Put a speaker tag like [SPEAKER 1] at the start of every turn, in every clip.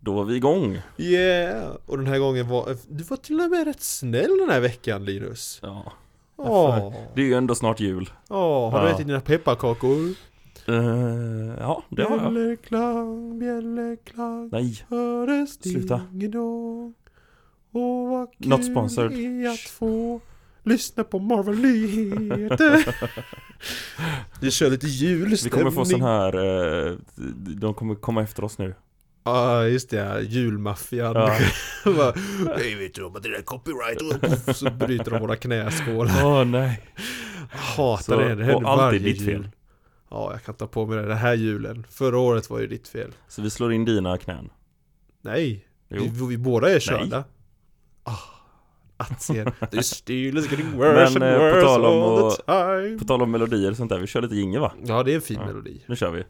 [SPEAKER 1] Då var vi igång.
[SPEAKER 2] Yeah! Och den här gången var... Du var till och med rätt snäll den här veckan Linus.
[SPEAKER 1] Ja.
[SPEAKER 2] Åh,
[SPEAKER 1] Det är ju ändå snart jul.
[SPEAKER 2] åh, har du
[SPEAKER 1] Ja.
[SPEAKER 2] ätit dina pepparkakor?
[SPEAKER 1] Eh, ja, det har jag.
[SPEAKER 2] Bjällerklang, bjällerklang,
[SPEAKER 1] Nej.
[SPEAKER 2] höres
[SPEAKER 1] Sluta.
[SPEAKER 2] dingedong. Åh vad kul
[SPEAKER 1] Not sponsored.
[SPEAKER 2] det är att få lyssna på Marvel-nyheter. Vi kör lite julstämning.
[SPEAKER 1] Vi kommer få sån här, eh, de kommer komma efter oss nu.
[SPEAKER 2] Ja, just det. här, Julmaffian.
[SPEAKER 1] Ja.
[SPEAKER 2] Bara, Hej, vet du om att det där är copyright? Och puff, så bryter de våra knäskålar.
[SPEAKER 1] Åh nej.
[SPEAKER 2] Hatar
[SPEAKER 1] Så-
[SPEAKER 2] det. Det händer
[SPEAKER 1] och allt är
[SPEAKER 2] varje
[SPEAKER 1] ditt fel.
[SPEAKER 2] jul. Ja, jag kan ta på mig det. Den här julen. Förra året var ju ditt fel.
[SPEAKER 1] Så vi slår in dina knän.
[SPEAKER 2] Nej,
[SPEAKER 1] Jo.
[SPEAKER 2] vi, vi båda är körda. Ah, Attseende. The steel is getting worse
[SPEAKER 1] Men, eh,
[SPEAKER 2] and
[SPEAKER 1] på
[SPEAKER 2] worse
[SPEAKER 1] tal om
[SPEAKER 2] all
[SPEAKER 1] att-
[SPEAKER 2] the time.
[SPEAKER 1] På tal om melodier och sånt där, vi kör lite jingel va?
[SPEAKER 2] Ja, det är en fin
[SPEAKER 1] Ja.
[SPEAKER 2] melodi.
[SPEAKER 1] Nu kör vi.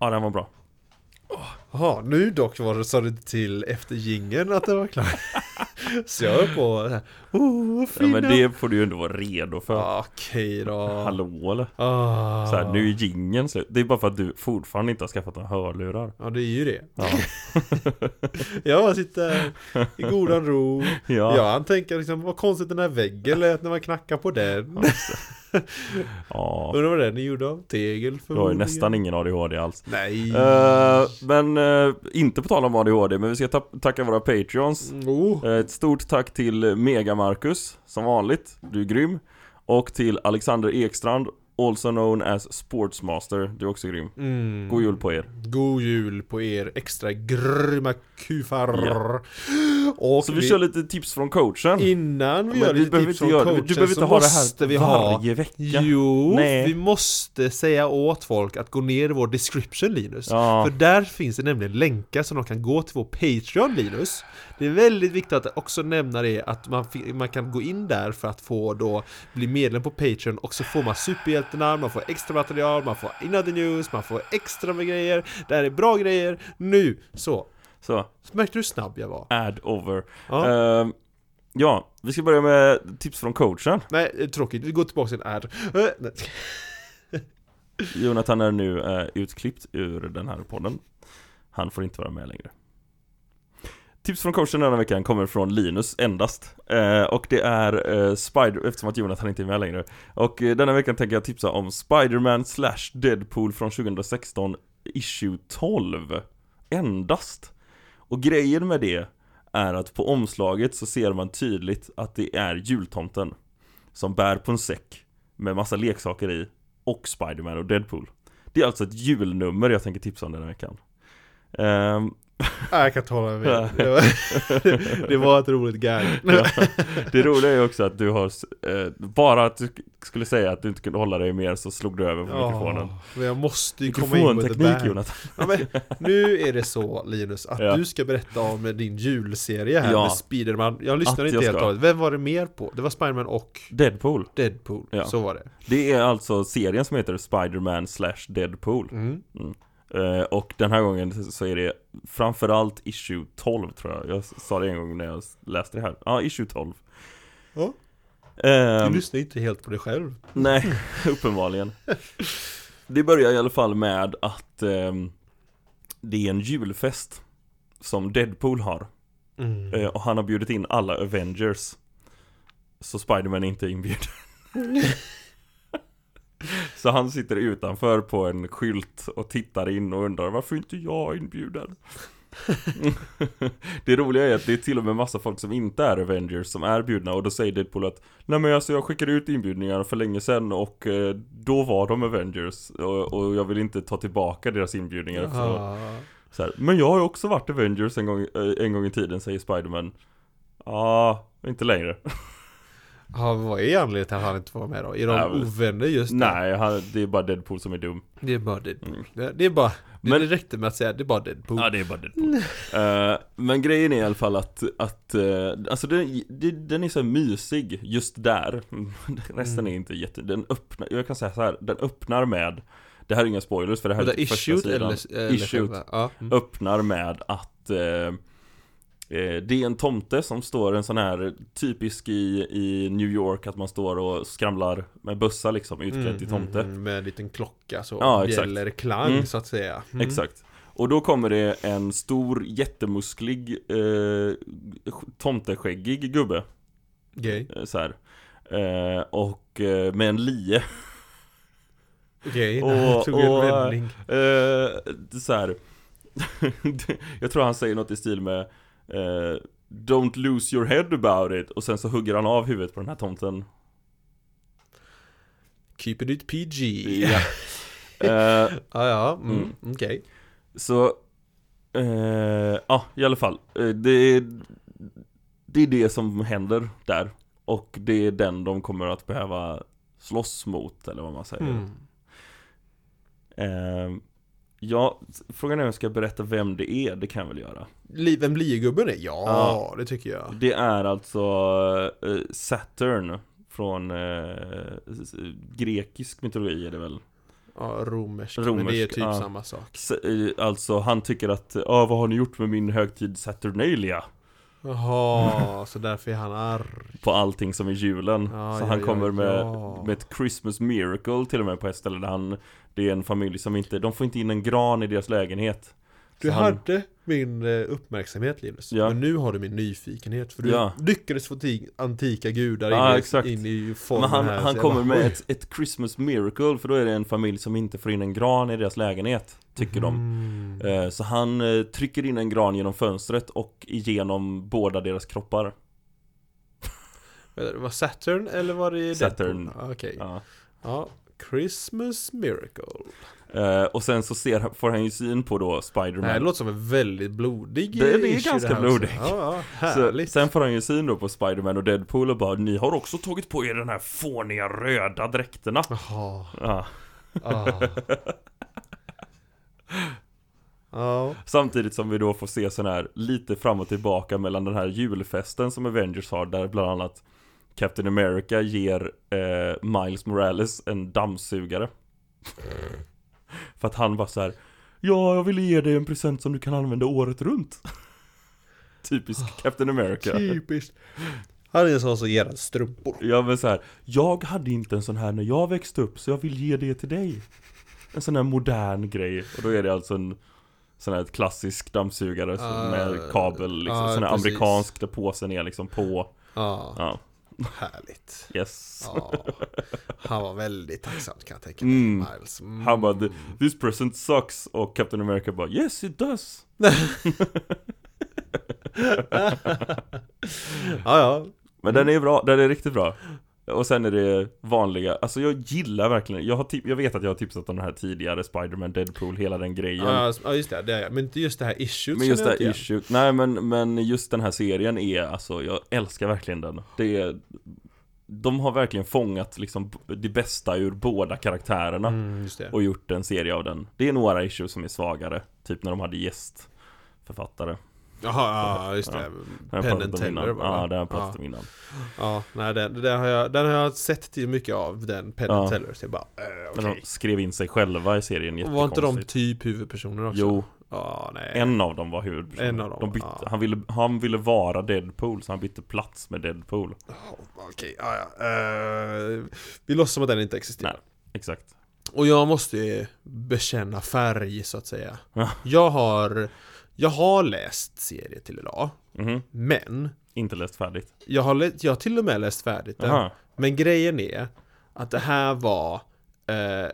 [SPEAKER 1] Ja, den var bra.
[SPEAKER 2] Jaha, nu dock var det, sa du till efter jingeln att det var klart. Så jag höll på så här, oh,
[SPEAKER 1] Ja,
[SPEAKER 2] fina.
[SPEAKER 1] men det får du ju ändå vara redo för.
[SPEAKER 2] Ah, Okej då.
[SPEAKER 1] Hallå eller?
[SPEAKER 2] Ah.
[SPEAKER 1] Så här, nu är jingeln slut. Det är bara för att du fortfarande inte har skaffat några hörlurar.
[SPEAKER 2] Ja, det är ju det.
[SPEAKER 1] Ja.
[SPEAKER 2] Jag bara sitter här i godan ro. Ja.
[SPEAKER 1] Ja.
[SPEAKER 2] han tänker liksom, vad konstigt den här väggen lät när man knackar på den.
[SPEAKER 1] ja.
[SPEAKER 2] Undrar vad den är gjord av? Tegel
[SPEAKER 1] Du har ju
[SPEAKER 2] förmodligen.
[SPEAKER 1] nästan ingen ADHD alls.
[SPEAKER 2] Nej.
[SPEAKER 1] Eh, men eh, inte på tal om ADHD, men vi ska ta- tacka våra Patreons.
[SPEAKER 2] oh.
[SPEAKER 1] Eh, ett stort tack till Mega Marcus, som vanligt. Du är grym. Och till Alexander Ekstrand, also known as Sportsmaster. Du är också grym.
[SPEAKER 2] mm.
[SPEAKER 1] God jul på er.
[SPEAKER 2] God jul på er extra grymma kufar.
[SPEAKER 1] Ja.
[SPEAKER 2] Och
[SPEAKER 1] Så vi kör lite tips från coachen.
[SPEAKER 2] Innan vi
[SPEAKER 1] Men
[SPEAKER 2] gör
[SPEAKER 1] vi
[SPEAKER 2] lite
[SPEAKER 1] behöver
[SPEAKER 2] tips
[SPEAKER 1] inte
[SPEAKER 2] från
[SPEAKER 1] göra det.
[SPEAKER 2] coachen
[SPEAKER 1] Du behöver
[SPEAKER 2] så
[SPEAKER 1] inte ha det
[SPEAKER 2] måste
[SPEAKER 1] här
[SPEAKER 2] vi ha
[SPEAKER 1] varje vecka.
[SPEAKER 2] Jo,
[SPEAKER 1] Nej.
[SPEAKER 2] vi måste säga åt folk att gå ner i vår description Linus.
[SPEAKER 1] Ja.
[SPEAKER 2] För där finns det nämligen länkar som de kan gå till vår Patreon Linus. Det är väldigt viktigt att också nämna det att man, fi- man kan gå in där för att få då bli medlem på Patreon och så får man superhjältarna, man får extra material, man får in other news, man får extra med grejer. Det här är bra grejer. Nu! Så.
[SPEAKER 1] Så,
[SPEAKER 2] Märkte du hur snabb jag var?
[SPEAKER 1] add over.
[SPEAKER 2] Ja.
[SPEAKER 1] Eh, ja, vi ska börja med tips från coachen.
[SPEAKER 2] Nej, det är tråkigt. Vi går tillbaka till en ad. Eh, nej.
[SPEAKER 1] Jonathan är nu eh, utklippt ur den här podden. Han får inte vara med längre. Tips från coachen den här veckan kommer från Linus endast. Eh, och det är eh, Spider, eftersom att Jonathan inte är med längre. Och eh, denna veckan tänker jag tipsa om Spider-Man slash Deadpool från 2016 Issue 12. Endast. Och grejen med det är att på omslaget så ser man tydligt att det är jultomten. Som bär på en säck med massa leksaker i och Spider-Man och Deadpool. Det är alltså ett julnummer jag tänker tipsa om den här veckan. Ehm,
[SPEAKER 2] Nej, jag kan inte hålla mig med. Det var, det var ett roligt gag.
[SPEAKER 1] ja. Det roliga är ju också att du har, eh, bara att du sk- skulle säga att du inte kunde hålla dig mer så slog du över på mikrofonen.
[SPEAKER 2] Ja, men jag måste ju komma in på ett
[SPEAKER 1] Mikrofonteknik
[SPEAKER 2] band.
[SPEAKER 1] Jonathan.
[SPEAKER 2] Ja, men, nu är det så Linus, att
[SPEAKER 1] Ja.
[SPEAKER 2] du ska berätta om din julserie här
[SPEAKER 1] Ja.
[SPEAKER 2] med Spiderman. Jag lyssnade
[SPEAKER 1] Att
[SPEAKER 2] inte
[SPEAKER 1] jag
[SPEAKER 2] helt
[SPEAKER 1] ska.
[SPEAKER 2] och hållet. Vem var det mer på? Det var Spiderman och
[SPEAKER 1] Deadpool.
[SPEAKER 2] Deadpool.
[SPEAKER 1] Ja.
[SPEAKER 2] Så var det.
[SPEAKER 1] Det är alltså serien som heter Spider-Man slash Deadpool.
[SPEAKER 2] Mm.
[SPEAKER 1] Eh, och den här gången så är det framförallt issue 12 tror jag. Jag sa det en gång när jag läste det här. Ja, issue 12.
[SPEAKER 2] Ja. Du
[SPEAKER 1] Ehm,
[SPEAKER 2] lyssnade inte helt på dig själv.
[SPEAKER 1] Nej, uppenbarligen. Det börjar i alla fall med att ehm, det är en julfest som Deadpool har.
[SPEAKER 2] Mm.
[SPEAKER 1] Eh, och han har bjudit in alla Avengers. Så Spiderman är inte inbjuden. så han sitter utanför på en skylt och tittar in och undrar varför inte jag är inbjuden? det roliga är att det är till och med massa folk som inte är Avengers som är bjudna och då säger Deadpool att Nej men alltså jag skickade ut inbjudningar för länge sedan och eh, då var de Avengers och, och jag vill inte ta tillbaka deras inbjudningar eftersom jag
[SPEAKER 2] Ah.
[SPEAKER 1] så här, men jag har ju också varit Avengers en gång, eh, en gång i tiden, säger Spiderman. Ja, inte längre.
[SPEAKER 2] Ja, vad är anledningen till att han inte får vara med då? Är de
[SPEAKER 1] Nej, men- Mm.
[SPEAKER 2] ovänner just nu?
[SPEAKER 1] Nej, han, det är bara Deadpool som är dum.
[SPEAKER 2] Det är bara Deadpool. Det, det är bara... Det,
[SPEAKER 1] Mm. Men-
[SPEAKER 2] det räckte med att säga det är bara Deadpool.
[SPEAKER 1] Ja, det är bara Deadpool. Eh, men grejen är i alla fall att, att eh, alltså den, det- den är så här mysig just där. Resten är inte jätte, den öppnar, jag kan säga så här, den öppnar med, det här är inga spoilers för det här
[SPEAKER 2] Vänta,
[SPEAKER 1] är första
[SPEAKER 2] issued
[SPEAKER 1] sidan.
[SPEAKER 2] eller... eller
[SPEAKER 1] Issued.
[SPEAKER 2] själva- Ja. Mm.
[SPEAKER 1] öppnar med att eh, eh, det är en tomte som står en sån här typisk i, i New York att man står och skramlar med bössa liksom utklädd till tomte.
[SPEAKER 2] mm, mm, med en liten klocka så.
[SPEAKER 1] Ja, exakt.
[SPEAKER 2] Gäller klang
[SPEAKER 1] Mm.
[SPEAKER 2] så att säga. Mm.
[SPEAKER 1] Exakt. Och då kommer det en stor jättemusklig eh, tomteskäggig gubbe
[SPEAKER 2] Okej.
[SPEAKER 1] eh, så här. Eh, och eh, med en lie
[SPEAKER 2] Okej,
[SPEAKER 1] Och-
[SPEAKER 2] det tog en
[SPEAKER 1] och-
[SPEAKER 2] vändning.
[SPEAKER 1] Eh, så här. jag tror han säger något i stil med eh, Don't lose your head about it Och sen så hugger han av huvudet på den här tomten
[SPEAKER 2] Keep it PG.
[SPEAKER 1] Ja. Eh,
[SPEAKER 2] Ja, ja. Mm.
[SPEAKER 1] Mm.
[SPEAKER 2] Okej.
[SPEAKER 1] Så eh, Ja, i alla fall Eh, det, är, det är det som händer där Och det är den de kommer att behöva slåss mot Eller vad man säger
[SPEAKER 2] Mm.
[SPEAKER 1] eh, Ja, frågan är om jag ska berätta vem det är Det kan jag väl göra
[SPEAKER 2] Li- Vem Liegubben är? Ja,
[SPEAKER 1] Ja.
[SPEAKER 2] det tycker jag.
[SPEAKER 1] Det är alltså eh, Saturn från eh, s- grekisk mytologi är det väl?
[SPEAKER 2] Ja, romersk. Men det är
[SPEAKER 1] Romersk,
[SPEAKER 2] typ
[SPEAKER 1] ja.
[SPEAKER 2] samma sak.
[SPEAKER 1] S- eh, Alltså han tycker att, ja vad har ni gjort med min högtid Saturnalia? Mm.
[SPEAKER 2] Jaha, så därför är han arg.
[SPEAKER 1] På allting som är julen.
[SPEAKER 2] Ja,
[SPEAKER 1] så
[SPEAKER 2] ja,
[SPEAKER 1] han
[SPEAKER 2] ja,
[SPEAKER 1] kommer med,
[SPEAKER 2] ja.
[SPEAKER 1] med ett Christmas miracle till och med på ett ställe där han, det är en familj som inte, de får inte in en gran i deras lägenhet.
[SPEAKER 2] Du
[SPEAKER 1] Så han-
[SPEAKER 2] hade min eh, uppmärksamhet Linus,
[SPEAKER 1] Ja.
[SPEAKER 2] men nu har du min nyfikenhet för du
[SPEAKER 1] Ja,
[SPEAKER 2] lyckades få ti- antika gudar
[SPEAKER 1] Ja,
[SPEAKER 2] in, i-
[SPEAKER 1] exakt.
[SPEAKER 2] in i
[SPEAKER 1] men
[SPEAKER 2] formen
[SPEAKER 1] han,
[SPEAKER 2] här
[SPEAKER 1] han
[SPEAKER 2] så jag
[SPEAKER 1] kommer
[SPEAKER 2] bara,
[SPEAKER 1] med
[SPEAKER 2] oj.
[SPEAKER 1] ett, ett Christmas miracle för då är det en familj som inte får in en gran i deras lägenhet, tycker de.
[SPEAKER 2] Mm.
[SPEAKER 1] Eh, Så han eh, trycker in en gran genom fönstret och igenom båda deras kroppar.
[SPEAKER 2] Vänta, Var Saturn eller var det
[SPEAKER 1] Saturn.
[SPEAKER 2] Deadpool? Ah, Okej. Ja.
[SPEAKER 1] Ja.
[SPEAKER 2] Christmas Miracle.
[SPEAKER 1] Eh, Och sen så ser, han- får han ju syn på då
[SPEAKER 2] Det här
[SPEAKER 1] Spiderman.
[SPEAKER 2] låter som en väldigt blodig
[SPEAKER 1] Det- det är
[SPEAKER 2] issue
[SPEAKER 1] ganska
[SPEAKER 2] här också.
[SPEAKER 1] blodig.
[SPEAKER 2] Ja, ja,
[SPEAKER 1] Så,
[SPEAKER 2] härligt.
[SPEAKER 1] sen får han ju syn då på Spiderman och Deadpool och bara Ni har också tagit på er den här fåniga röda dräkterna.
[SPEAKER 2] Jaha.
[SPEAKER 1] Ja.
[SPEAKER 2] Ah. Ja.
[SPEAKER 1] Samtidigt som vi då får se sån här lite fram och tillbaka mellan den här julfesten som Avengers har där bland annat Captain America ger eh, Miles Morales en dammsugare. För att han var så här. Ja, jag ville ge dig en present som du kan använda året runt. Typisk Captain America.
[SPEAKER 2] Typiskt. Han är en sån som ger en strumpor.
[SPEAKER 1] Ja men så här, jag hade inte en sån här när jag växte upp så jag vill ge det till dig. En sån här modern grej och då är det alltså en sån här klassisk dammsugare som-
[SPEAKER 2] Ah,
[SPEAKER 1] med kabel liksom,
[SPEAKER 2] ah,
[SPEAKER 1] sån här
[SPEAKER 2] precis.
[SPEAKER 1] amerikansk där påsen är liksom på.
[SPEAKER 2] Ja,
[SPEAKER 1] Ja,
[SPEAKER 2] härligt.
[SPEAKER 1] yes.
[SPEAKER 2] Ja. Han var väldigt tacksam kan jag tänka mig.
[SPEAKER 1] Mm.
[SPEAKER 2] Miles. Mm.
[SPEAKER 1] Han bara, "Th- this present sucks och Captain America bara, yes it does.
[SPEAKER 2] Ja, ja.
[SPEAKER 1] Men den är bra, den är riktigt bra. Och sen är det vanliga, alltså jag gillar verkligen, jag, har tip- jag vet att jag har tipsat om den här tidigare Spider-Man, Deadpool, hela den grejen.
[SPEAKER 2] Ja, ja, just det. det är jag. Men inte just det här issuet
[SPEAKER 1] Men just det
[SPEAKER 2] känner jag
[SPEAKER 1] här
[SPEAKER 2] inte igen.
[SPEAKER 1] issue, nej men, men just den här serien är alltså, jag älskar verkligen den. Det är, de har verkligen fångat liksom b- det bästa ur båda karaktärerna
[SPEAKER 2] Mm, just det.
[SPEAKER 1] och gjort en serie av den. Det är några issues som är svagare, typ när de hade gästförfattare.
[SPEAKER 2] Jaha, ja, just det.
[SPEAKER 1] Den har jag
[SPEAKER 2] Pen
[SPEAKER 1] pratat
[SPEAKER 2] and
[SPEAKER 1] om innan.
[SPEAKER 2] Teller var
[SPEAKER 1] Ja,
[SPEAKER 2] det.
[SPEAKER 1] den har jag
[SPEAKER 2] ja.
[SPEAKER 1] pratat om innan.
[SPEAKER 2] ja, nej, den, den, har jag, den har jag sett till mycket av, den Pen and
[SPEAKER 1] Ja.
[SPEAKER 2] Teller. Så jag bara, eh,
[SPEAKER 1] Men
[SPEAKER 2] okej.
[SPEAKER 1] de skrev in sig själva i serien
[SPEAKER 2] Och Var inte de
[SPEAKER 1] jättekonstigt.
[SPEAKER 2] typ huvudpersoner också?
[SPEAKER 1] Jo,
[SPEAKER 2] Ja, nej.
[SPEAKER 1] en av dem var huvudpersonen.
[SPEAKER 2] En av dem,
[SPEAKER 1] de bytte,
[SPEAKER 2] ja.
[SPEAKER 1] han, ville, han ville vara Deadpool, så han bytte plats med Deadpool.
[SPEAKER 2] Ja, Okej, ja, ja. Eh, vi låtsas som att den inte existerar.
[SPEAKER 1] Nej. Exakt.
[SPEAKER 2] Och jag måste ju bekänna färg så att säga.
[SPEAKER 1] Ja.
[SPEAKER 2] Jag har, jag har läst serier till idag,
[SPEAKER 1] Mhm.
[SPEAKER 2] men
[SPEAKER 1] Inte läst färdigt.
[SPEAKER 2] jag har, lä- jag har till och med läst färdigt den.
[SPEAKER 1] Aha.
[SPEAKER 2] Men grejen är att det här var, eh,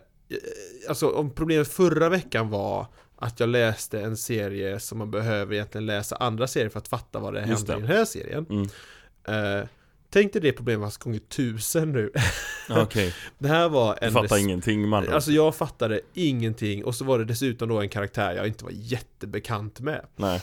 [SPEAKER 2] alltså om problemet förra veckan var att jag läste en serie som man behöver egentligen läsa andra serier för att fatta vad det
[SPEAKER 1] Just
[SPEAKER 2] händer i
[SPEAKER 1] det.
[SPEAKER 2] den här serien.
[SPEAKER 1] Mm.
[SPEAKER 2] Eh, tänk dig det problemet fast gånger tusen nu.
[SPEAKER 1] Okej,
[SPEAKER 2] Det här var
[SPEAKER 1] du
[SPEAKER 2] en
[SPEAKER 1] fattar ingenting man.
[SPEAKER 2] Alltså jag fattade ingenting och så var det dessutom då en karaktär jag inte var jättebekant med.
[SPEAKER 1] Nej.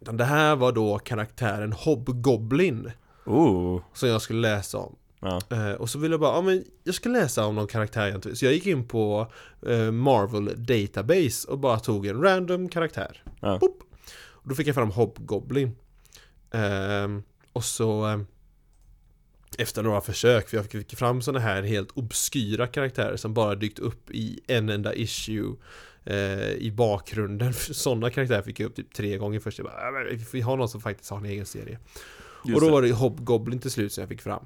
[SPEAKER 2] Utan det här var då karaktären Hobgoblin.
[SPEAKER 1] Oh,
[SPEAKER 2] Som jag skulle läsa om.
[SPEAKER 1] ja.
[SPEAKER 2] Eh, och så ville jag bara, ja men jag ska läsa om någon karaktär jag inte vill. Så jag gick in på eh, Marvel Database och bara tog en random karaktär.
[SPEAKER 1] Ja.
[SPEAKER 2] Boop. Och då fick jag fram Hobgoblin. Ehm, och så eh, efter några försök, för jag fick fram sådana här helt obskyra karaktärer som bara dykt upp i en enda issue eh, i bakgrunden. Sådana karaktärer fick jag upp typ tre gånger först. Jag bara, "Ja, men vi har någon som faktiskt har en egen serie.
[SPEAKER 1] Just
[SPEAKER 2] Och då
[SPEAKER 1] det.
[SPEAKER 2] var det Hobgoblin till slut som jag fick fram.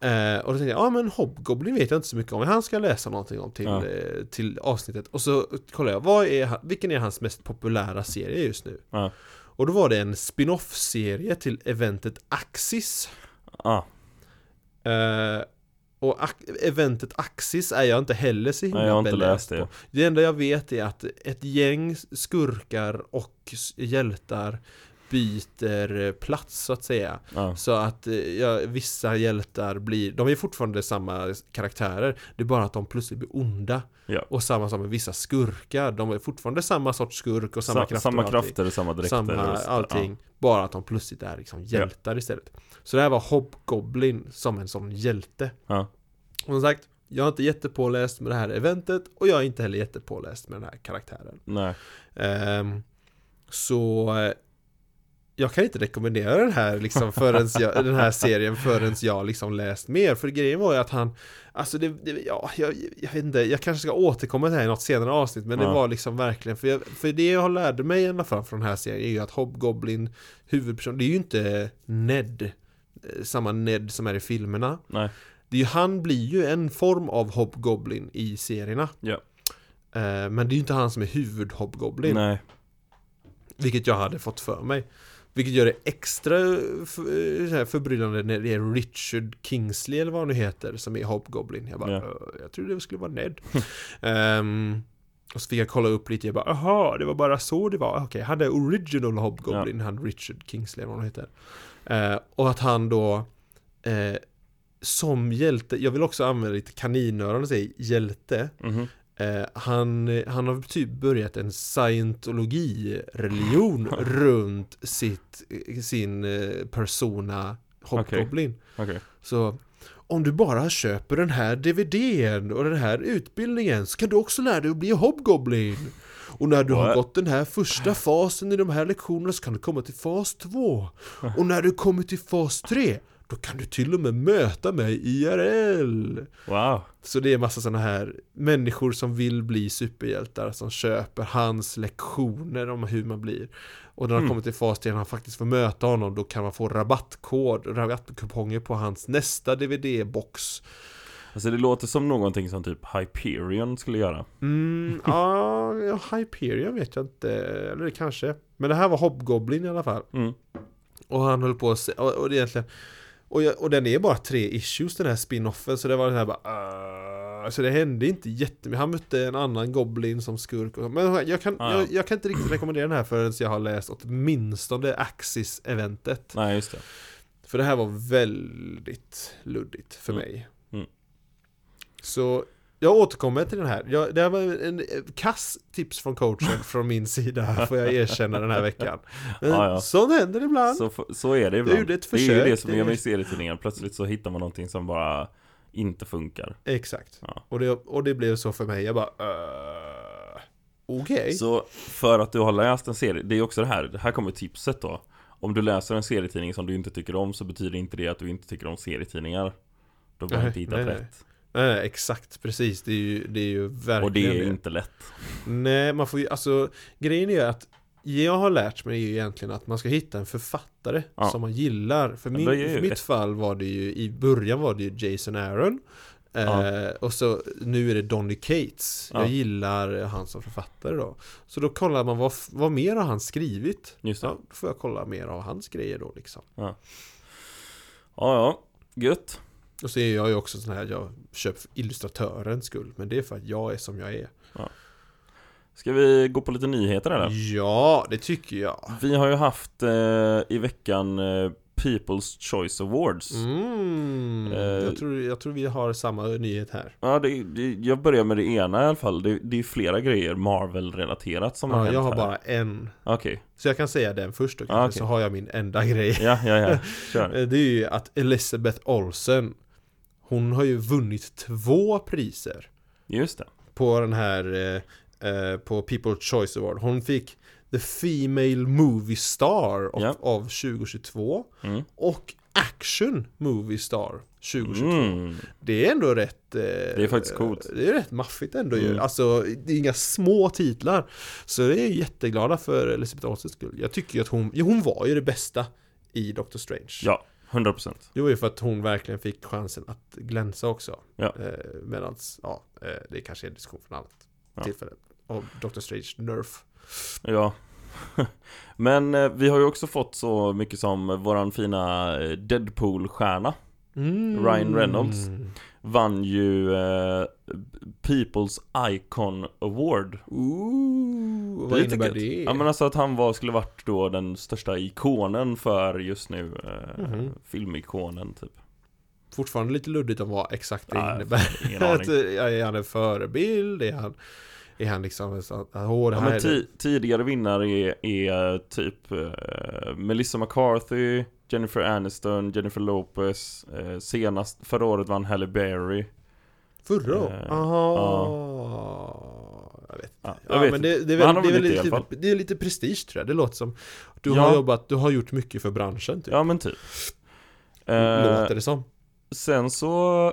[SPEAKER 2] Eh, och då tänkte jag, ja ah, men Hobgoblin vet jag inte så mycket om, men han ska jag läsa någonting om till,
[SPEAKER 1] Ja.
[SPEAKER 2] eh, till avsnittet. Och så kollade jag, vad är, han- vilken är hans mest populära serie just nu?
[SPEAKER 1] Ja.
[SPEAKER 2] Och då var det en spin-off-serie till eventet Axis.
[SPEAKER 1] Ah,
[SPEAKER 2] Eh, och ac- eventet Axis är jag inte heller så himla
[SPEAKER 1] nej, jag har inte
[SPEAKER 2] beläst
[SPEAKER 1] läst det.
[SPEAKER 2] på. Det enda jag vet är att ett gäng skurkar och s- hjältar byter eh, plats så att säga.
[SPEAKER 1] Ja.
[SPEAKER 2] Så att eh, ja, vissa hjältar blir, de är fortfarande samma karaktärer Det är bara att de plötsligt blir onda
[SPEAKER 1] Ja.
[SPEAKER 2] Och samma som med vissa skurkar De är fortfarande samma sorts skurk och samma
[SPEAKER 1] Sa-
[SPEAKER 2] krafter
[SPEAKER 1] samma
[SPEAKER 2] och allting.
[SPEAKER 1] krafter, samma dräkter.
[SPEAKER 2] Samma
[SPEAKER 1] och ah. sådär.
[SPEAKER 2] allting Bara att de plötsligt är liksom hjältar istället Så det här var Hobgoblin som en sån hjälte
[SPEAKER 1] Ja.
[SPEAKER 2] Och som sagt, jag är inte jättepåläst med det här eventet Och jag är inte heller jättepåläst med den här karaktären
[SPEAKER 1] Ja. Nej.
[SPEAKER 2] Ehm, så eh, jag kan inte rekommendera den här, liksom, förrän jag, den här serien förrän jag liksom läst mer. För grejen var ju att han, alltså det, det ja, jag, jag vet inte, jag kanske ska återkomma till det här i något senare avsnitt. Men det
[SPEAKER 1] Ja.
[SPEAKER 2] var liksom verkligen, för, jag, för det jag lärde mig i alla fall från den här serien är ju att Hobgoblin, huvudperson, det är ju inte Ned, eh, samma Ned som är i filmerna.
[SPEAKER 1] Nej.
[SPEAKER 2] Det är ju, han blir ju en form av Hobgoblin i serierna.
[SPEAKER 1] Ja.
[SPEAKER 2] Eh, Men det är ju inte han som är huvud-Hobgoblin.
[SPEAKER 1] Nej.
[SPEAKER 2] Vilket jag hade fått för mig. Vilket gör det extra för, så här förbryllande när det är Richard Kingsley eller vad han nu heter som är Hobgoblin. Jag bara,
[SPEAKER 1] Ja.
[SPEAKER 2] "Ö, jag trodde det skulle vara Ned. Ehm, och så fick jag kolla upp lite, jag bara, aha, det var bara så det var. Okej, han är original Hobgoblin, han Richard Kingsley eller vad han heter. Eh, och att han då, eh, som hjälte, jag vill också använda lite kaninöron och säga hjälte.
[SPEAKER 1] Mhm.
[SPEAKER 2] Eh, han, han har typ börjat en scientologireligion runt sitt, sin eh, persona Hobgoblin.
[SPEAKER 1] Okej.
[SPEAKER 2] Så om du bara köper den här DVDn och den här utbildningen så kan du också lära dig att bli Hobgoblin. Och när du har
[SPEAKER 1] What?
[SPEAKER 2] gått den här första fasen i de här lektionerna så kan du komma till fas 2. Och när du kommer till fas 3 då kan du till och med möta mig IRL.
[SPEAKER 1] Wow.
[SPEAKER 2] Så det är massa sådana här människor som vill bli superhjältar som köper hans lektioner om hur man blir. Och när han
[SPEAKER 1] Mm.
[SPEAKER 2] kommer till fas 3 när han faktiskt får möta honom då kan man få rabattkod, rabattkuponger på hans nästa DVD-box.
[SPEAKER 1] Alltså det låter som någonting som typ Hyperion skulle göra.
[SPEAKER 2] Mm, ja, ja, Hyperion vet jag inte, eller det kanske. Men det här var Hobgoblin i alla fall.
[SPEAKER 1] Mm.
[SPEAKER 2] Och han höll på att se, och, och det är egentligen och, jag, och den är bara tre issues den här spin-offen så det var den här bara uh, Så det hände inte jättemycket, han mötte en annan goblin som skurk och, Men jag kan,
[SPEAKER 1] Ah, ja.
[SPEAKER 2] jag, jag kan inte riktigt rekommendera den här förrän jag har läst åtminstone Axis-eventet
[SPEAKER 1] Nej, just det.
[SPEAKER 2] För det här var väldigt luddigt för
[SPEAKER 1] Mm.
[SPEAKER 2] mig
[SPEAKER 1] Mm.
[SPEAKER 2] Så jag återkommer till den här. Jag, det här var en eh, kass tips från coachen från min sida, får jag erkänna den här veckan. Men
[SPEAKER 1] Ah, ja.
[SPEAKER 2] sånt händer ibland.
[SPEAKER 1] Så, f- så är det ibland.
[SPEAKER 2] gjorde ett
[SPEAKER 1] Det är ju det
[SPEAKER 2] försök,
[SPEAKER 1] som
[SPEAKER 2] det
[SPEAKER 1] gör
[SPEAKER 2] är-
[SPEAKER 1] mig serietidningar. Plötsligt så hittar man någonting som bara inte funkar.
[SPEAKER 2] Exakt.
[SPEAKER 1] Ja.
[SPEAKER 2] Och, det, och det blev så för mig. Jag bara uh, Okej.
[SPEAKER 1] Så för att du har läst en serie, det är också det här, det här kommer tipset då. Om du läser en serietidning som du inte tycker om så betyder inte det att du inte tycker om serietidningar. Då har du
[SPEAKER 2] Nej,
[SPEAKER 1] inte hittat
[SPEAKER 2] nej, nej.
[SPEAKER 1] rätt.
[SPEAKER 2] Nej, nej, exakt. Precis. Det är ju, det är ju verkligen
[SPEAKER 1] Och det är inte lätt.
[SPEAKER 2] Nej, man får ju, alltså grejen är ju att jag har lärt mig ju egentligen att man ska hitta en författare
[SPEAKER 1] Ja.
[SPEAKER 2] som man gillar. För,
[SPEAKER 1] Men
[SPEAKER 2] min,
[SPEAKER 1] det är ju
[SPEAKER 2] för mitt
[SPEAKER 1] ett-
[SPEAKER 2] fall var det ju, i början var det ju Jason Aaron. Eh,
[SPEAKER 1] Ja.
[SPEAKER 2] och så nu är det Donny Cates.
[SPEAKER 1] Ja.
[SPEAKER 2] Jag gillar han som författare då. Så då kollar man vad, f- vad mer har han skrivit?
[SPEAKER 1] Just det.
[SPEAKER 2] Ja, då får jag kolla mer av hans grejer då liksom.
[SPEAKER 1] Ja, ja. Gött.
[SPEAKER 2] Och så är jag ju också sån här, jag köper för illustratörens skull. Men det är för att jag är som jag är.
[SPEAKER 1] Ska vi gå på lite nyheter eller?
[SPEAKER 2] Ja, det tycker jag.
[SPEAKER 1] Vi har ju haft eh, i veckan eh, People's Choice Awards
[SPEAKER 2] Mm.
[SPEAKER 1] Eh,
[SPEAKER 2] Jag, tror, jag tror vi har samma nyhet här.
[SPEAKER 1] Ja, det, det, jag börjar med det ena i alla fall. Det, det är flera grejer Marvel-relaterat som har
[SPEAKER 2] Ja,
[SPEAKER 1] hänt
[SPEAKER 2] jag har
[SPEAKER 1] här.
[SPEAKER 2] bara en.
[SPEAKER 1] Okej,
[SPEAKER 2] Så jag kan säga den först då
[SPEAKER 1] Ja,
[SPEAKER 2] kanske,
[SPEAKER 1] okej.
[SPEAKER 2] så har jag min enda grej.
[SPEAKER 1] ja, ja, ja. Kör.
[SPEAKER 2] Eh, Det är ju att Elizabeth Olsen, hon har ju vunnit två priser
[SPEAKER 1] Just det.
[SPEAKER 2] på den här, eh, eh, på People's Choice Award. Hon fick The Female Movie Star av,
[SPEAKER 1] Ja.
[SPEAKER 2] av 2022
[SPEAKER 1] Mm.
[SPEAKER 2] och Action Movie Star 2022.
[SPEAKER 1] Mm.
[SPEAKER 2] Det är ändå rätt eh,
[SPEAKER 1] är faktiskt coolt.
[SPEAKER 2] Det är rätt maffigt ändå ju
[SPEAKER 1] Mm.
[SPEAKER 2] Alltså det är inga små titlar Så det är jätteglada för Elisabeth Olsens skull Jag tycker ju att hon, jo, hon var ju det bästa i Doctor Strange
[SPEAKER 1] Ja, 100%.
[SPEAKER 2] Det var ju för att hon verkligen fick chansen att glänsa också
[SPEAKER 1] Ja.
[SPEAKER 2] eh, Medans, ja, eh, det kanske är en diskussion från annat
[SPEAKER 1] Ja.
[SPEAKER 2] tillfälle Av Doctor Strange Nerf
[SPEAKER 1] Ja. Men eh, vi har ju också fått så mycket som våran fina eh, Deadpool-stjärna
[SPEAKER 2] Mm.
[SPEAKER 1] Ryan Reynolds. vann ju eh, People's Icon Award.
[SPEAKER 2] Ooh,
[SPEAKER 1] Det
[SPEAKER 2] vad
[SPEAKER 1] är lite
[SPEAKER 2] innebär
[SPEAKER 1] gött.
[SPEAKER 2] det?
[SPEAKER 1] Ja men alltså att han var, skulle varit då den största ikonen för just nu eh,
[SPEAKER 2] Mhm.
[SPEAKER 1] Filmikonen typ
[SPEAKER 2] Fortfarande lite luddigt om vad exakt det
[SPEAKER 1] Ja, jag
[SPEAKER 2] innebär
[SPEAKER 1] har Ingen
[SPEAKER 2] Att,
[SPEAKER 1] aning
[SPEAKER 2] eh, är han en förebild? Är han, är han liksom så att, åh det
[SPEAKER 1] ja,
[SPEAKER 2] här
[SPEAKER 1] men typ.
[SPEAKER 2] är det.
[SPEAKER 1] ti- Tidigare vinnare är, är typ eh, Melissa McCarthy Jennifer Aniston, Jennifer Lopez eh, Senast, förra året vann Halle Berry
[SPEAKER 2] Förra året?
[SPEAKER 1] eh,
[SPEAKER 2] Aha. Jag vet.
[SPEAKER 1] ja, Jag
[SPEAKER 2] Ja,
[SPEAKER 1] vet
[SPEAKER 2] men
[SPEAKER 1] inte.
[SPEAKER 2] det, det, är
[SPEAKER 1] Men han har
[SPEAKER 2] väl, det, är väl
[SPEAKER 1] vunnit i alla
[SPEAKER 2] lite, det är lite prestige tror jag, det låter som Du
[SPEAKER 1] Ja.
[SPEAKER 2] har jobbat, du har gjort mycket för branschen typ.
[SPEAKER 1] Ja men typ eh,
[SPEAKER 2] Låter det som
[SPEAKER 1] Sen så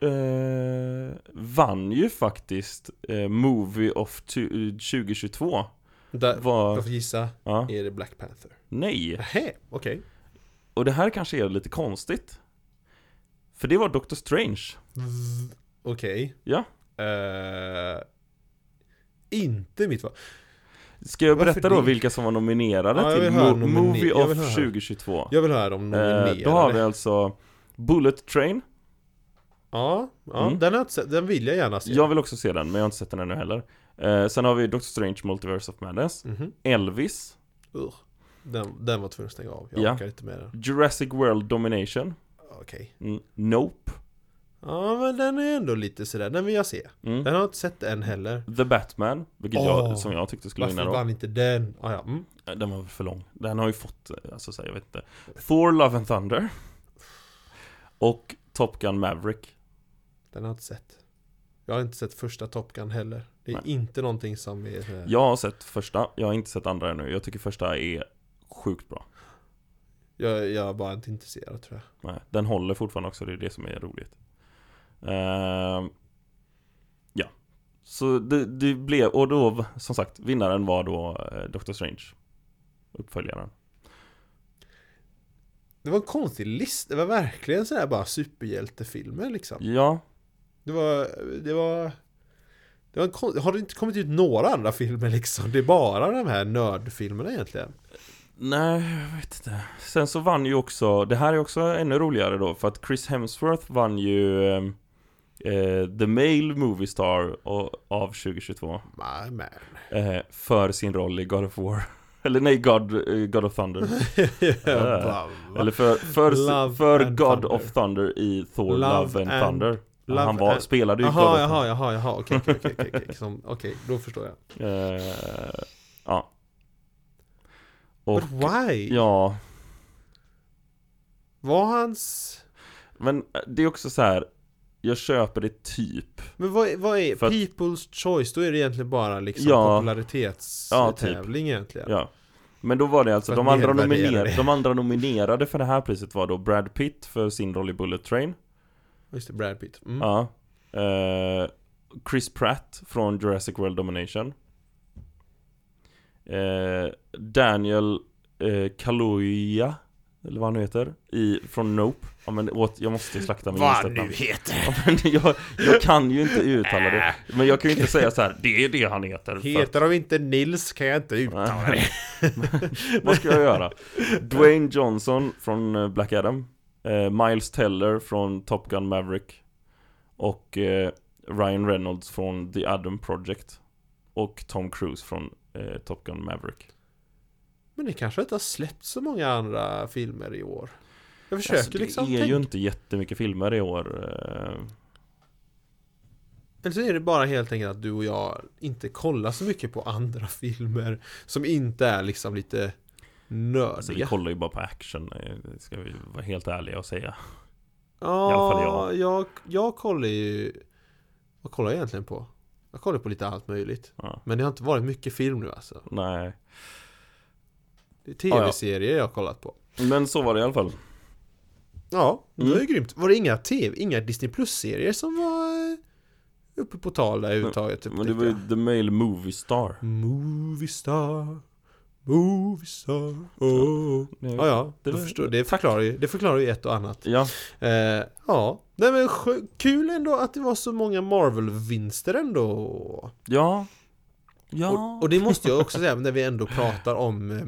[SPEAKER 1] eh, Vann ju faktiskt eh, Movie of tu- 2022
[SPEAKER 2] Där,
[SPEAKER 1] Var,
[SPEAKER 2] Jag får gissa,
[SPEAKER 1] ja,
[SPEAKER 2] är det Black Panther?
[SPEAKER 1] nej
[SPEAKER 2] Nähä, okej
[SPEAKER 1] Och det här kanske är lite konstigt. För det var Doctor Strange.
[SPEAKER 2] V- Okej
[SPEAKER 1] Ja.
[SPEAKER 2] Eh, Inte mitt val
[SPEAKER 1] Ska jag
[SPEAKER 2] Varför
[SPEAKER 1] berätta då
[SPEAKER 2] det?
[SPEAKER 1] vilka som var nominerade
[SPEAKER 2] Ja, jag
[SPEAKER 1] till
[SPEAKER 2] vill höra
[SPEAKER 1] Mo-
[SPEAKER 2] nomine-
[SPEAKER 1] Movie
[SPEAKER 2] jag
[SPEAKER 1] of
[SPEAKER 2] vill höra.
[SPEAKER 1] 2022?
[SPEAKER 2] Jag vill höra dem
[SPEAKER 1] Eh,
[SPEAKER 2] nominerade
[SPEAKER 1] då har vi alltså Bullet Train.
[SPEAKER 2] Ja, ja
[SPEAKER 1] Mm.
[SPEAKER 2] den, har jag inte sett, den vill jag gärna se
[SPEAKER 1] Jag vill också se den, men jag har inte sett den ännu heller. Eh, sen har vi Doctor Strange Multiverse of Madness.
[SPEAKER 2] Mhm.
[SPEAKER 1] Elvis.
[SPEAKER 2] Ugh. Den, den var tvungen att stänga av, jag
[SPEAKER 1] Ja.
[SPEAKER 2] orkar inte med den
[SPEAKER 1] Jurassic World Domination.
[SPEAKER 2] Okej
[SPEAKER 1] Mm, nope.
[SPEAKER 2] Ja men den är ändå lite sådär, den vill jag se
[SPEAKER 1] Mm.
[SPEAKER 2] Den har jag inte sett än heller
[SPEAKER 1] The Batman, vilket
[SPEAKER 2] Åh.
[SPEAKER 1] jag, som jag tyckte skulle vinna
[SPEAKER 2] Varför
[SPEAKER 1] då.
[SPEAKER 2] vann inte den? Ah, ja. mm.
[SPEAKER 1] Eh, Den var för lång. Den har ju fått, eh, alltså så här, jag vet inte. Thor Love and Thunder. Och Top Gun Maverick.
[SPEAKER 2] Den har jag inte sett Jag har inte sett första Top Gun heller Det är
[SPEAKER 1] Nej.
[SPEAKER 2] inte någonting som är sådär.
[SPEAKER 1] Jag har sett första, jag har inte sett andra ännu. Jag tycker första är sjukt bra.
[SPEAKER 2] Jag, jag är bara inte intresserad tror jag
[SPEAKER 1] Nej, Den håller fortfarande också, det är det som är roligt. Ehm, ja. Så det, det blev, och då som sagt, vinnaren var då eh, Doctor Strange. Uppföljaren.
[SPEAKER 2] Det var en konstig lista, det var verkligen sådär bara superhjältefilmer liksom
[SPEAKER 1] Ja,
[SPEAKER 2] Det var, det var det var en kon- har det inte kommit ut några andra filmer liksom? Det är bara de här nördfilmerna egentligen.
[SPEAKER 1] nej jag vet inte. Sen så vann ju också, det här är också ännu roligare då, för att Chris Hemsworth vann ju ehm, eh, The Male Movie Star o- av 2022.
[SPEAKER 2] My man.
[SPEAKER 1] eh, för sin roll i God of War. Eller nej, God, eh, God of Thunder.
[SPEAKER 2] Jag bara, va?
[SPEAKER 1] Eller för, för,
[SPEAKER 2] Love
[SPEAKER 1] för
[SPEAKER 2] and
[SPEAKER 1] God
[SPEAKER 2] Thunder.
[SPEAKER 1] of Thunder i Thor
[SPEAKER 2] Love
[SPEAKER 1] Love and,
[SPEAKER 2] and-
[SPEAKER 1] Thunder.
[SPEAKER 2] Love
[SPEAKER 1] han var,
[SPEAKER 2] and-
[SPEAKER 1] spelade ju God
[SPEAKER 2] Jaha,
[SPEAKER 1] of
[SPEAKER 2] jaha, jaha, jaha, okej, okej, okej, okej, okej, som- okej, då förstår jag.
[SPEAKER 1] Thunder. Eh, ja. Och,
[SPEAKER 2] But why?
[SPEAKER 1] ja,
[SPEAKER 2] Var hans...
[SPEAKER 1] men det är också så här. Jag köper det typ.
[SPEAKER 2] Men vad, vad är
[SPEAKER 1] För att-
[SPEAKER 2] People's Choice? Då är det egentligen bara liksom
[SPEAKER 1] Ja. Ja, typ.
[SPEAKER 2] popularitetstävling egentligen.
[SPEAKER 1] Ja. Men då var det alltså,
[SPEAKER 2] För
[SPEAKER 1] de
[SPEAKER 2] att
[SPEAKER 1] andra,
[SPEAKER 2] nedvärdera
[SPEAKER 1] nominer-
[SPEAKER 2] det.
[SPEAKER 1] de andra nominerade för det här priset var då Brad Pitt för sin roll i Bullet Train.
[SPEAKER 2] Just det, Brad Pitt. Mm.
[SPEAKER 1] Ja. Eh, Chris Pratt från Jurassic World Domination. Eh, Daniel uh, Kaluuya, eller vad han nu heter, i, från Nope. Ja men åt, jag måste slakta min
[SPEAKER 2] Vad
[SPEAKER 1] nästa
[SPEAKER 2] nu
[SPEAKER 1] namn.
[SPEAKER 2] heter!
[SPEAKER 1] Ja, men jag, jag kan ju inte uttala det. Men jag kan ju inte säga så här. det är det han heter. för att-
[SPEAKER 2] Äh, Heter de inte Nils kan jag inte uttala det.
[SPEAKER 1] vad ska jag göra? Dwayne Johnson från eh, Black Adam. Eh, Miles Teller från Top Gun Maverick. Och eh, Ryan Reynolds från The Adam Project. och Tom Cruise från eh, Top Gun Maverick.
[SPEAKER 2] Men det kanske inte har släppt så många andra filmer i år. Jag försöker
[SPEAKER 1] Alltså, det
[SPEAKER 2] liksom
[SPEAKER 1] är
[SPEAKER 2] tänka.
[SPEAKER 1] ju inte jättemycket filmer i år. eh.
[SPEAKER 2] Eller så är det bara helt enkelt att du och jag inte kollar så mycket på andra filmer som inte är liksom lite
[SPEAKER 1] Alltså, vi
[SPEAKER 2] nördiga.
[SPEAKER 1] kollar ju bara på action, eh, det ska vi vara helt ärliga och säga.
[SPEAKER 2] Ja,
[SPEAKER 1] i alla fall jag.
[SPEAKER 2] jag. Jag kollar ju... Vad kollar jag egentligen på? Jag kollar på lite allt möjligt.
[SPEAKER 1] Ja.
[SPEAKER 2] Men det har inte varit mycket film nu alltså.
[SPEAKER 1] Nej.
[SPEAKER 2] Det är
[SPEAKER 1] ja.
[SPEAKER 2] tv-serier jag har kollat på.
[SPEAKER 1] Men så var det i alla fall.
[SPEAKER 2] Typ Ja, det var ju
[SPEAKER 1] Mm.
[SPEAKER 2] grymt. Var det inga tv, inga Disney Plus-serier som var eh, uppe på tal där överhuvudtaget? Typ
[SPEAKER 1] Men det var ju The Male Movie Star.
[SPEAKER 2] Movie star, movie star, oh. Ja, ja,
[SPEAKER 1] Det
[SPEAKER 2] det,
[SPEAKER 1] var-
[SPEAKER 2] förstår, det, förklarar ju, det förklarar ju ett och annat.
[SPEAKER 1] Ja,
[SPEAKER 2] Eh, ja, nej men skö- kul ändå att det var så många Marvel-vinster ändå.
[SPEAKER 1] ja. Ja.
[SPEAKER 2] Och, och det måste jag också säga när vi ändå pratar om eh,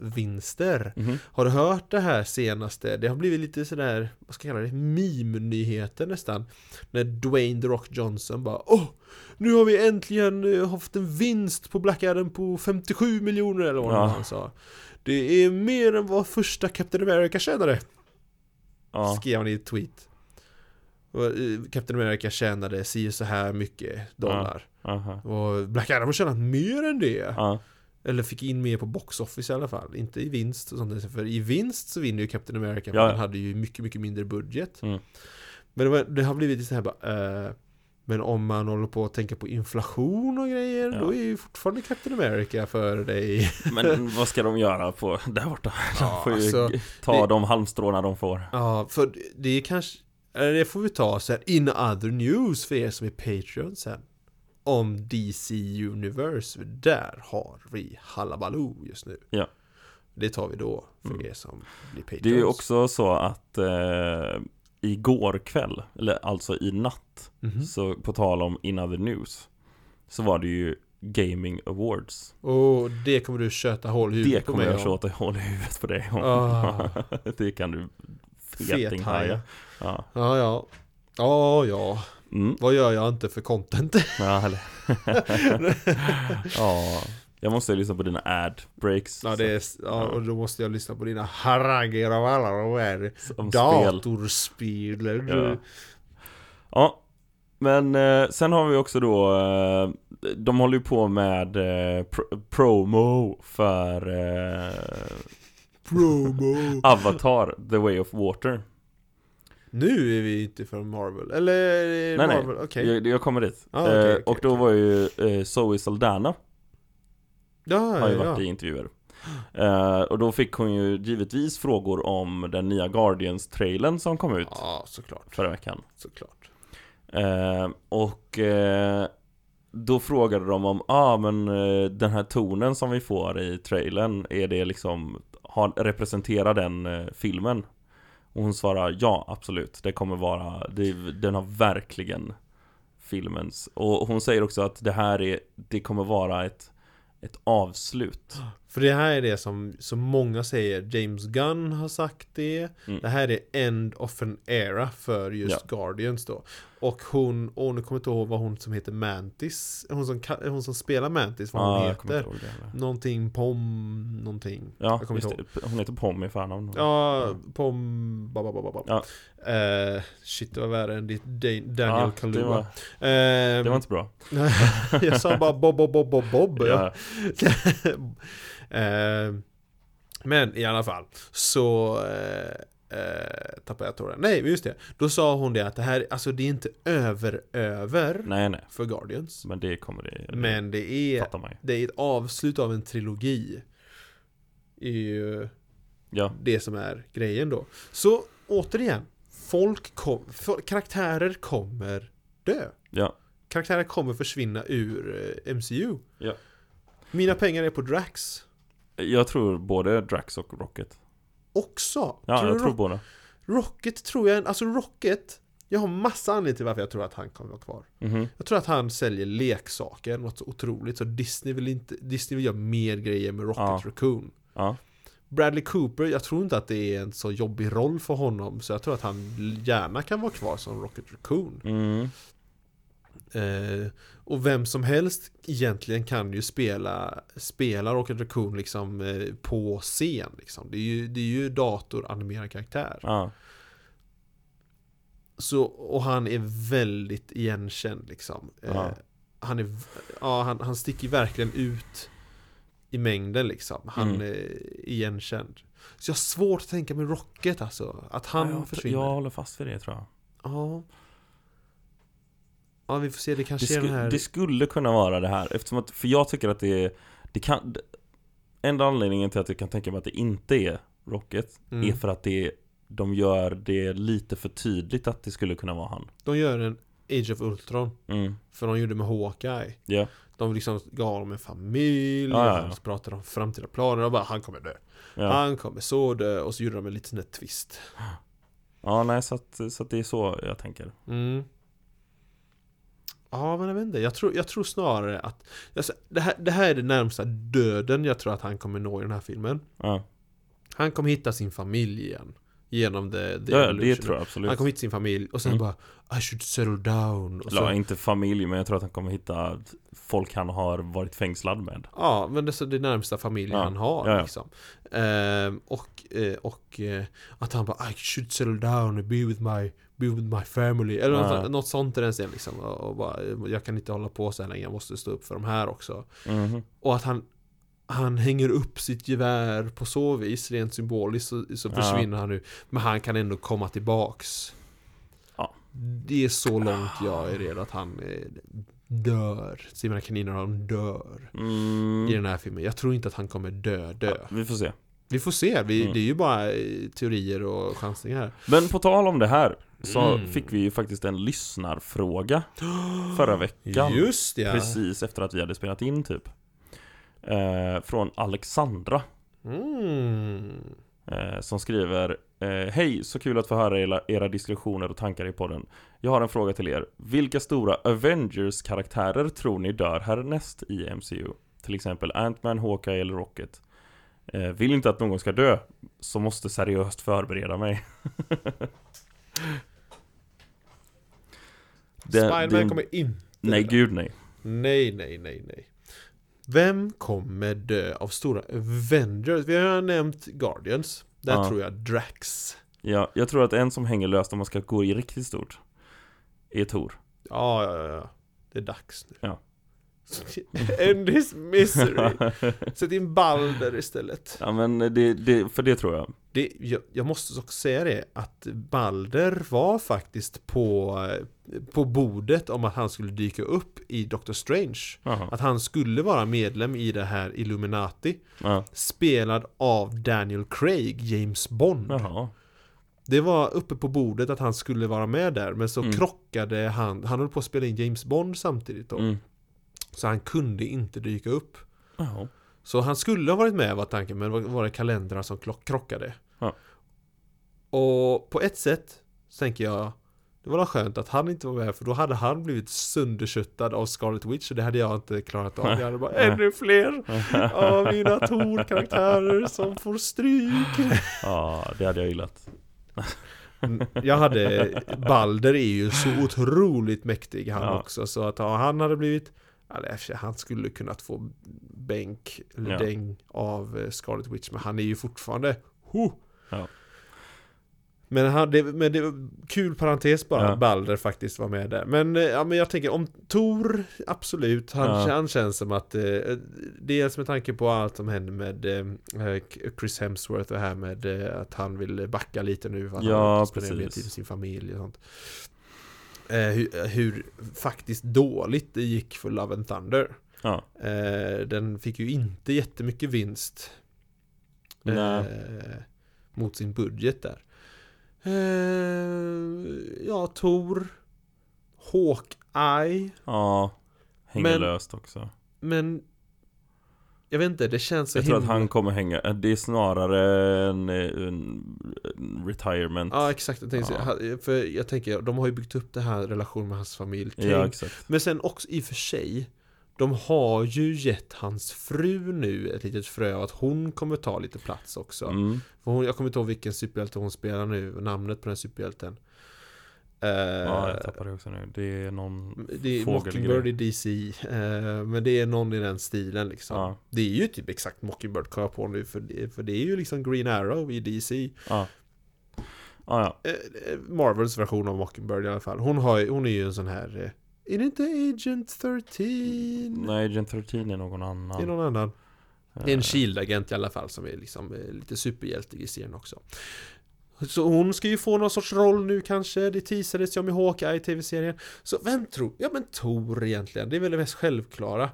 [SPEAKER 2] Marvel-vinster.
[SPEAKER 1] Mhm.
[SPEAKER 2] Har du hört det här senaste? Det har blivit lite sådär, vad ska jag kalla det, meme-nyheter nästan. När Dwayne The Rock Johnson bara Åh! Nu har vi äntligen eh, haft en vinst på Black Adam på 57 miljoner eller vad
[SPEAKER 1] Ja.
[SPEAKER 2] han sa. Det är mer än vad första Captain America tjänade,
[SPEAKER 1] ja.
[SPEAKER 2] skrev han i ett tweet. Och, eh, Captain America tjänade si och så här mycket dollar.
[SPEAKER 1] Aha.
[SPEAKER 2] Och Black Adam har tjänat mer än det.
[SPEAKER 1] Ja.
[SPEAKER 2] Eller fick in mer på box office i alla fall. Inte i vinst och sånt där. För i vinst så vinner ju Captain America.
[SPEAKER 1] Ja,
[SPEAKER 2] Ja.
[SPEAKER 1] ja.
[SPEAKER 2] Han hade ju mycket, mycket mindre budget.
[SPEAKER 1] Mm.
[SPEAKER 2] Men det, var, det har blivit så här bara, eh, Men om man håller på att tänka på inflation och grejer.
[SPEAKER 1] Ja.
[SPEAKER 2] Då är ju fortfarande Captain America för dig.
[SPEAKER 1] Men vad ska de göra på där borta? De
[SPEAKER 2] Ja,
[SPEAKER 1] får ju
[SPEAKER 2] alltså,
[SPEAKER 1] g- ta
[SPEAKER 2] det-
[SPEAKER 1] de halmstråna de får.
[SPEAKER 2] ja, för det är kanske... eller Det får vi ta sen. In other news för er som är Patreon sen. Om DC Universe. Där har vi Hallabaloo just nu.
[SPEAKER 1] Ja.
[SPEAKER 2] Det tar vi då för
[SPEAKER 1] Mm.
[SPEAKER 2] er som blir Patreons.
[SPEAKER 1] Det är ju också så att eh, igår kväll, eller alltså i natt,
[SPEAKER 2] Mhm.
[SPEAKER 1] så på tal om In Other News, så var det ju Gaming Awards.
[SPEAKER 2] Och det kommer du köta hål i
[SPEAKER 1] Det
[SPEAKER 2] huvudet på
[SPEAKER 1] kommer
[SPEAKER 2] mig
[SPEAKER 1] jag
[SPEAKER 2] om.
[SPEAKER 1] tjata hål i huvudet på dig om.
[SPEAKER 2] Ah.
[SPEAKER 1] det kan du
[SPEAKER 2] Fethaja.
[SPEAKER 1] fetinghaja. Ja.
[SPEAKER 2] Ja, ja. Ja, ja.
[SPEAKER 1] Mm.
[SPEAKER 2] Vad gör jag inte för content?
[SPEAKER 1] Ja, eller. ja. Jag måste lyssna på dina ad breaks.
[SPEAKER 2] ja, det är, ja, och då måste jag lyssna på dina haranger av alla de här
[SPEAKER 1] om spel.
[SPEAKER 2] datorspelen.
[SPEAKER 1] Ja. Ja, men eh, sen har vi också då eh, De håller ju på med eh, pr- promo för eh,
[SPEAKER 2] Promo.
[SPEAKER 1] Avatar The Way of Water
[SPEAKER 2] nu är vi inte från Marvel. Eller är
[SPEAKER 1] Nej, nej.
[SPEAKER 2] Marvel, okej.
[SPEAKER 1] jag, jag kommer dit
[SPEAKER 2] Ah, okej,
[SPEAKER 1] eh,
[SPEAKER 2] okej,
[SPEAKER 1] Och då
[SPEAKER 2] okej.
[SPEAKER 1] var ju eh, Zoe Saldana
[SPEAKER 2] Ja,
[SPEAKER 1] Har ju
[SPEAKER 2] ja,
[SPEAKER 1] varit
[SPEAKER 2] ja.
[SPEAKER 1] i intervjuer eh, Och då fick hon ju givetvis frågor om den nya Guardians-trailern som kom ut
[SPEAKER 2] Ja, såklart.
[SPEAKER 1] förra veckan
[SPEAKER 2] Såklart.
[SPEAKER 1] Eh, och eh, då frågade de om, ja ah, men eh, den här tonen som vi får i trailern, är det liksom, har, representerar den eh, filmen? Och hon svarar ja, absolut. Det kommer vara, det, den har verkligen filmens. Och hon säger också att det här är, det kommer vara ett, ett avslut.
[SPEAKER 2] För det här är det som, som många säger, James Gunn har sagt det.
[SPEAKER 1] Mm.
[SPEAKER 2] Det här är end of an era för just Guardians då. Och hon, och nu kommer jag inte ihåg vad hon som heter Mantis, hon som, ka- hon som spelar Mantis, vad hon
[SPEAKER 1] Ah, jag kommer
[SPEAKER 2] heter.
[SPEAKER 1] inte ihåg det. heller.
[SPEAKER 2] Någonting Pom, någonting.
[SPEAKER 1] Ja,
[SPEAKER 2] jag kommer
[SPEAKER 1] just
[SPEAKER 2] inte ihåg.
[SPEAKER 1] det. Hon heter Pommy i förnamn.
[SPEAKER 2] Ja, Pom, ba, ba, ba, ba, ba.
[SPEAKER 1] Ja.
[SPEAKER 2] Eh, shit, det var värre än ditt Da- Daniel
[SPEAKER 1] Ja, det,
[SPEAKER 2] Kaluuya.
[SPEAKER 1] var,
[SPEAKER 2] Ehm,
[SPEAKER 1] det var inte bra.
[SPEAKER 2] jag sa bara Bob, Bob, Bob, Bob, Bob.
[SPEAKER 1] Ja.
[SPEAKER 2] Eh, Men i alla fall så eh, eh, tappade jag tråden. Nej, men just det. Då sa hon det att det här, alltså det är inte över-över
[SPEAKER 1] Nej, nej.
[SPEAKER 2] för Guardians.
[SPEAKER 1] Men det kommer det, det
[SPEAKER 2] Men det är,
[SPEAKER 1] fattar man ju.
[SPEAKER 2] det är ett avslut av en trilogi. är ju
[SPEAKER 1] Ja,
[SPEAKER 2] det som är grejen då. Så återigen, folk kom, folk, karaktärer kommer dö.
[SPEAKER 1] ja.
[SPEAKER 2] Karaktärer kommer försvinna ur eh, MCU.
[SPEAKER 1] Ja.
[SPEAKER 2] Mina pengar är på Drax.
[SPEAKER 1] Jag tror både Drax och Rocket.
[SPEAKER 2] Också!
[SPEAKER 1] Ja,
[SPEAKER 2] Tror
[SPEAKER 1] jag
[SPEAKER 2] du
[SPEAKER 1] tror båda.
[SPEAKER 2] Rocket tror jag, alltså Rocket Jag har massa anledningar till varför jag tror att han kommer vara kvar
[SPEAKER 1] Mhm.
[SPEAKER 2] Jag tror att han säljer leksaker, något så otroligt Så Disney vill inte, Disney vill göra mer grejer med Rocket
[SPEAKER 1] Ja.
[SPEAKER 2] Raccoon
[SPEAKER 1] Ja.
[SPEAKER 2] Bradley Cooper, jag tror inte att det är en så jobbig roll för honom Så jag tror att han gärna kan vara kvar som Rocket Raccoon
[SPEAKER 1] Mm.
[SPEAKER 2] Eh, och vem som helst egentligen kan ju spela spelar Rocket Raccoon liksom eh, på scen. Liksom. Det är ju, det är ju datoranimerad karaktär.
[SPEAKER 1] Ja.
[SPEAKER 2] Så, och han är väldigt igenkänd liksom. Eh,
[SPEAKER 1] Ja.
[SPEAKER 2] han, är, v- ja, han, han sticker verkligen ut i mängden liksom. Han
[SPEAKER 1] Mm.
[SPEAKER 2] är igenkänd. Så jag har svårt att tänka mig Rocket alltså. Att han
[SPEAKER 1] Ja, jag,
[SPEAKER 2] försvinner.
[SPEAKER 1] Jag
[SPEAKER 2] Ja.
[SPEAKER 1] håller fast vid det tror jag.
[SPEAKER 2] ja. vi får se. Det
[SPEAKER 1] Det,
[SPEAKER 2] kanske är
[SPEAKER 1] sku,
[SPEAKER 2] den här...
[SPEAKER 1] det skulle kunna vara det här, eftersom att, för jag tycker att det är, det kan, det- enda anledningen till att jag kan tänka mig att det inte är Rocket,
[SPEAKER 2] Mm.
[SPEAKER 1] är för att det, de gör det lite för tydligt att det skulle kunna vara han.
[SPEAKER 2] De gör en Age of Ultron.
[SPEAKER 1] Mm.
[SPEAKER 2] För de gjorde med Hawkeye.
[SPEAKER 1] Ja.
[SPEAKER 2] De liksom gav honom en familj.
[SPEAKER 1] Ja, ja,
[SPEAKER 2] och
[SPEAKER 1] ja.
[SPEAKER 2] De pratade om framtida planer. Och bara han kommer dö.
[SPEAKER 1] Ja.
[SPEAKER 2] Han kommer så dö. Och så gjorde de en liten sån här twist.
[SPEAKER 1] ja, nej så att, så att det är så jag tänker.
[SPEAKER 2] Mm. Ja, men jag vet inte. Jag tror, jag tror snarare att... Alltså, det, här, det här är det närmsta döden jag tror att han kommer nå i den här filmen.
[SPEAKER 1] Ja,
[SPEAKER 2] Han kommer hitta sin familj igen. Genom the,
[SPEAKER 1] det,
[SPEAKER 2] the
[SPEAKER 1] det
[SPEAKER 2] Evolution.
[SPEAKER 1] tror jag absolut.
[SPEAKER 2] Han kommer hitta sin familj och sen
[SPEAKER 1] Mm.
[SPEAKER 2] bara I should settle down. Och
[SPEAKER 1] Ja,
[SPEAKER 2] så,
[SPEAKER 1] inte familj, men jag tror att han kommer hitta folk han har varit fängslad med.
[SPEAKER 2] ja, men det är så det närmsta familj
[SPEAKER 1] Ja,
[SPEAKER 2] han har.
[SPEAKER 1] ja, ja.
[SPEAKER 2] Liksom. Ehm, och eh, och eh, att han bara I should settle down and be with my Be with my family, eller
[SPEAKER 1] Ja.
[SPEAKER 2] något, något sånt i den stilen liksom. Och och bara, jag kan inte hålla på så här länge, jag måste stå upp för de här också.
[SPEAKER 1] Mhm.
[SPEAKER 2] Och att han han hänger upp sitt gevär på så vis, rent symboliskt, så, så
[SPEAKER 1] Ja.
[SPEAKER 2] försvinner han nu. Men han kan ändå komma tillbaks.
[SPEAKER 1] Ja.
[SPEAKER 2] Det är så långt jag är redo att han eh, dör. Simon kaniner han dör.
[SPEAKER 1] Mm.
[SPEAKER 2] I den här filmen. Jag tror inte att han kommer dö, dö.
[SPEAKER 1] Ja, vi får se.
[SPEAKER 2] Vi får se, vi,
[SPEAKER 1] Mm.
[SPEAKER 2] det är ju bara eh, teorier och chansningar.
[SPEAKER 1] Men på tal om det här så
[SPEAKER 2] Mm.
[SPEAKER 1] fick vi ju faktiskt en lyssnarfråga förra veckan.
[SPEAKER 2] Just ja!
[SPEAKER 1] Precis efter att vi hade spelat in typ. Eh, från Alexandra
[SPEAKER 2] Mm.
[SPEAKER 1] eh, som skriver eh, Hej, så kul att få höra era, era diskussioner och tankar i podden. Jag har en fråga till er. Vilka stora Avengers-karaktärer tror ni dör härnäst i MCU? Till exempel Ant-Man, Hawkeye eller Rocket. Eh, vill inte att någon ska dö, så måste seriöst förbereda mig. Det-
[SPEAKER 2] Spiderman
[SPEAKER 1] det-
[SPEAKER 2] kommer inte
[SPEAKER 1] Nej, gud nej.
[SPEAKER 2] Nej, nej, nej, nej. Vem kommer dö av stora Avengers? Vi har nämnt Guardians. Där
[SPEAKER 1] Ja.
[SPEAKER 2] tror jag Drax.
[SPEAKER 1] Ja, jag tror att en som hänger löst om man ska gå i riktigt stort är Tor.
[SPEAKER 2] Ja, ja, ja, ja. Det är dags nu.
[SPEAKER 1] Ja.
[SPEAKER 2] End his misery. Sätt in Balder istället.
[SPEAKER 1] ja men det, det, för det tror jag.
[SPEAKER 2] Det, jag, jag måste också säga det att Balder var faktiskt på, på bordet om att han skulle dyka upp i Doctor Strange.
[SPEAKER 1] Jaha.
[SPEAKER 2] Att han skulle vara medlem i det här Illuminati.
[SPEAKER 1] Ja.
[SPEAKER 2] Spelad av Daniel Craig, James Bond.
[SPEAKER 1] Jaha.
[SPEAKER 2] Det var uppe på bordet att han skulle vara med där Men så
[SPEAKER 1] Mm.
[SPEAKER 2] krockade han Han höll på att spela in James Bond samtidigt då
[SPEAKER 1] Mm.
[SPEAKER 2] Så han kunde inte dyka upp
[SPEAKER 1] Jaha.
[SPEAKER 2] Så han skulle ha varit med var tanken Men var- var det kalendrar som klock- krockade
[SPEAKER 1] Ja.
[SPEAKER 2] Och på ett sätt så tänker jag Det var väl skönt att han inte var med För då hade han blivit sönderköttad av Scarlet Witch Och det hade jag inte klarat av Jag hade bara ännu fler av mina Tor-karaktärer som får stryk
[SPEAKER 1] Ja, det hade jag gillat.
[SPEAKER 2] Mm, Jag hade, Balder är ju så otroligt mäktig han
[SPEAKER 1] Ja.
[SPEAKER 2] också så att ja, han hade blivit eller i och för sig, han skulle kunnat få bänk eller
[SPEAKER 1] Ja.
[SPEAKER 2] däng av eh, Scarlet Witch men han är ju fortfarande ho!
[SPEAKER 1] Ja.
[SPEAKER 2] Men, han, det, men det var kul parentes bara
[SPEAKER 1] Ja.
[SPEAKER 2] att Balder faktiskt var med där Men, eh, ja, men jag tänker om Tor, absolut han,
[SPEAKER 1] Ja.
[SPEAKER 2] han känns som att eh, Dels med tanke på allt som händer med eh, Chris Hemsworth och det här med eh, att han vill backa lite nu för att
[SPEAKER 1] Ja,
[SPEAKER 2] han spenderar mer
[SPEAKER 1] precis.
[SPEAKER 2] tid med sin familj och sånt eh, hur, hur faktiskt dåligt det gick för Love and Thunder
[SPEAKER 1] Ja.
[SPEAKER 2] eh, Den fick ju inte jättemycket vinst
[SPEAKER 1] Nej.
[SPEAKER 2] eh, mot sin budget där. Eh, ja, Tor, Hawkeye,
[SPEAKER 1] Ja. Hänger
[SPEAKER 2] Men-
[SPEAKER 1] löst också.
[SPEAKER 2] men jag vet inte, det känns så
[SPEAKER 1] Jag tror att
[SPEAKER 2] himla-
[SPEAKER 1] han kommer hänga. eh, Det är snarare en, eh, en en retirement.
[SPEAKER 2] Ja, exakt. Jag tänkte,
[SPEAKER 1] Ja.
[SPEAKER 2] han- För jag tänker, de har ju byggt upp det här relationen med hans familj.
[SPEAKER 1] Ja,
[SPEAKER 2] Tänk-
[SPEAKER 1] exakt.
[SPEAKER 2] Men sen också i och för sig de har ju gett hans fru nu ett litet frö av att hon kommer ta lite plats också.
[SPEAKER 1] Mm.
[SPEAKER 2] För hon, jag kommer inte ihåg vilken superhjälte hon spelar nu, namnet på den superhjälten. Eh,
[SPEAKER 1] Ja, jag tappade det också nu. Det är någon
[SPEAKER 2] det är Mockingbird i DC, eh, men det är någon i den stilen liksom.
[SPEAKER 1] Ja,
[SPEAKER 2] Det är ju typ exakt Mockingbird kom jag på nu, för det, för det är ju liksom Green Arrow i DC.
[SPEAKER 1] ja. Ja, Ah, ja.
[SPEAKER 2] Eh, eh, Marvels version av Mockingbird i alla fall. Hon, har, ju- hon är ju en sån här... eh, Är det inte Agent 13?
[SPEAKER 1] Nej, Agent 13 är någon annan.
[SPEAKER 2] Det är någon annan. Det är
[SPEAKER 1] Eh,
[SPEAKER 2] en Shield-agent i alla fall som är liksom eh, lite superhjältig i serien också. Så hon ska ju få någon sorts roll nu kanske, det teasades ju om i Hawkeye i TV-serien. Så vem tror, ja men Tor egentligen, det är väl det mest självklara.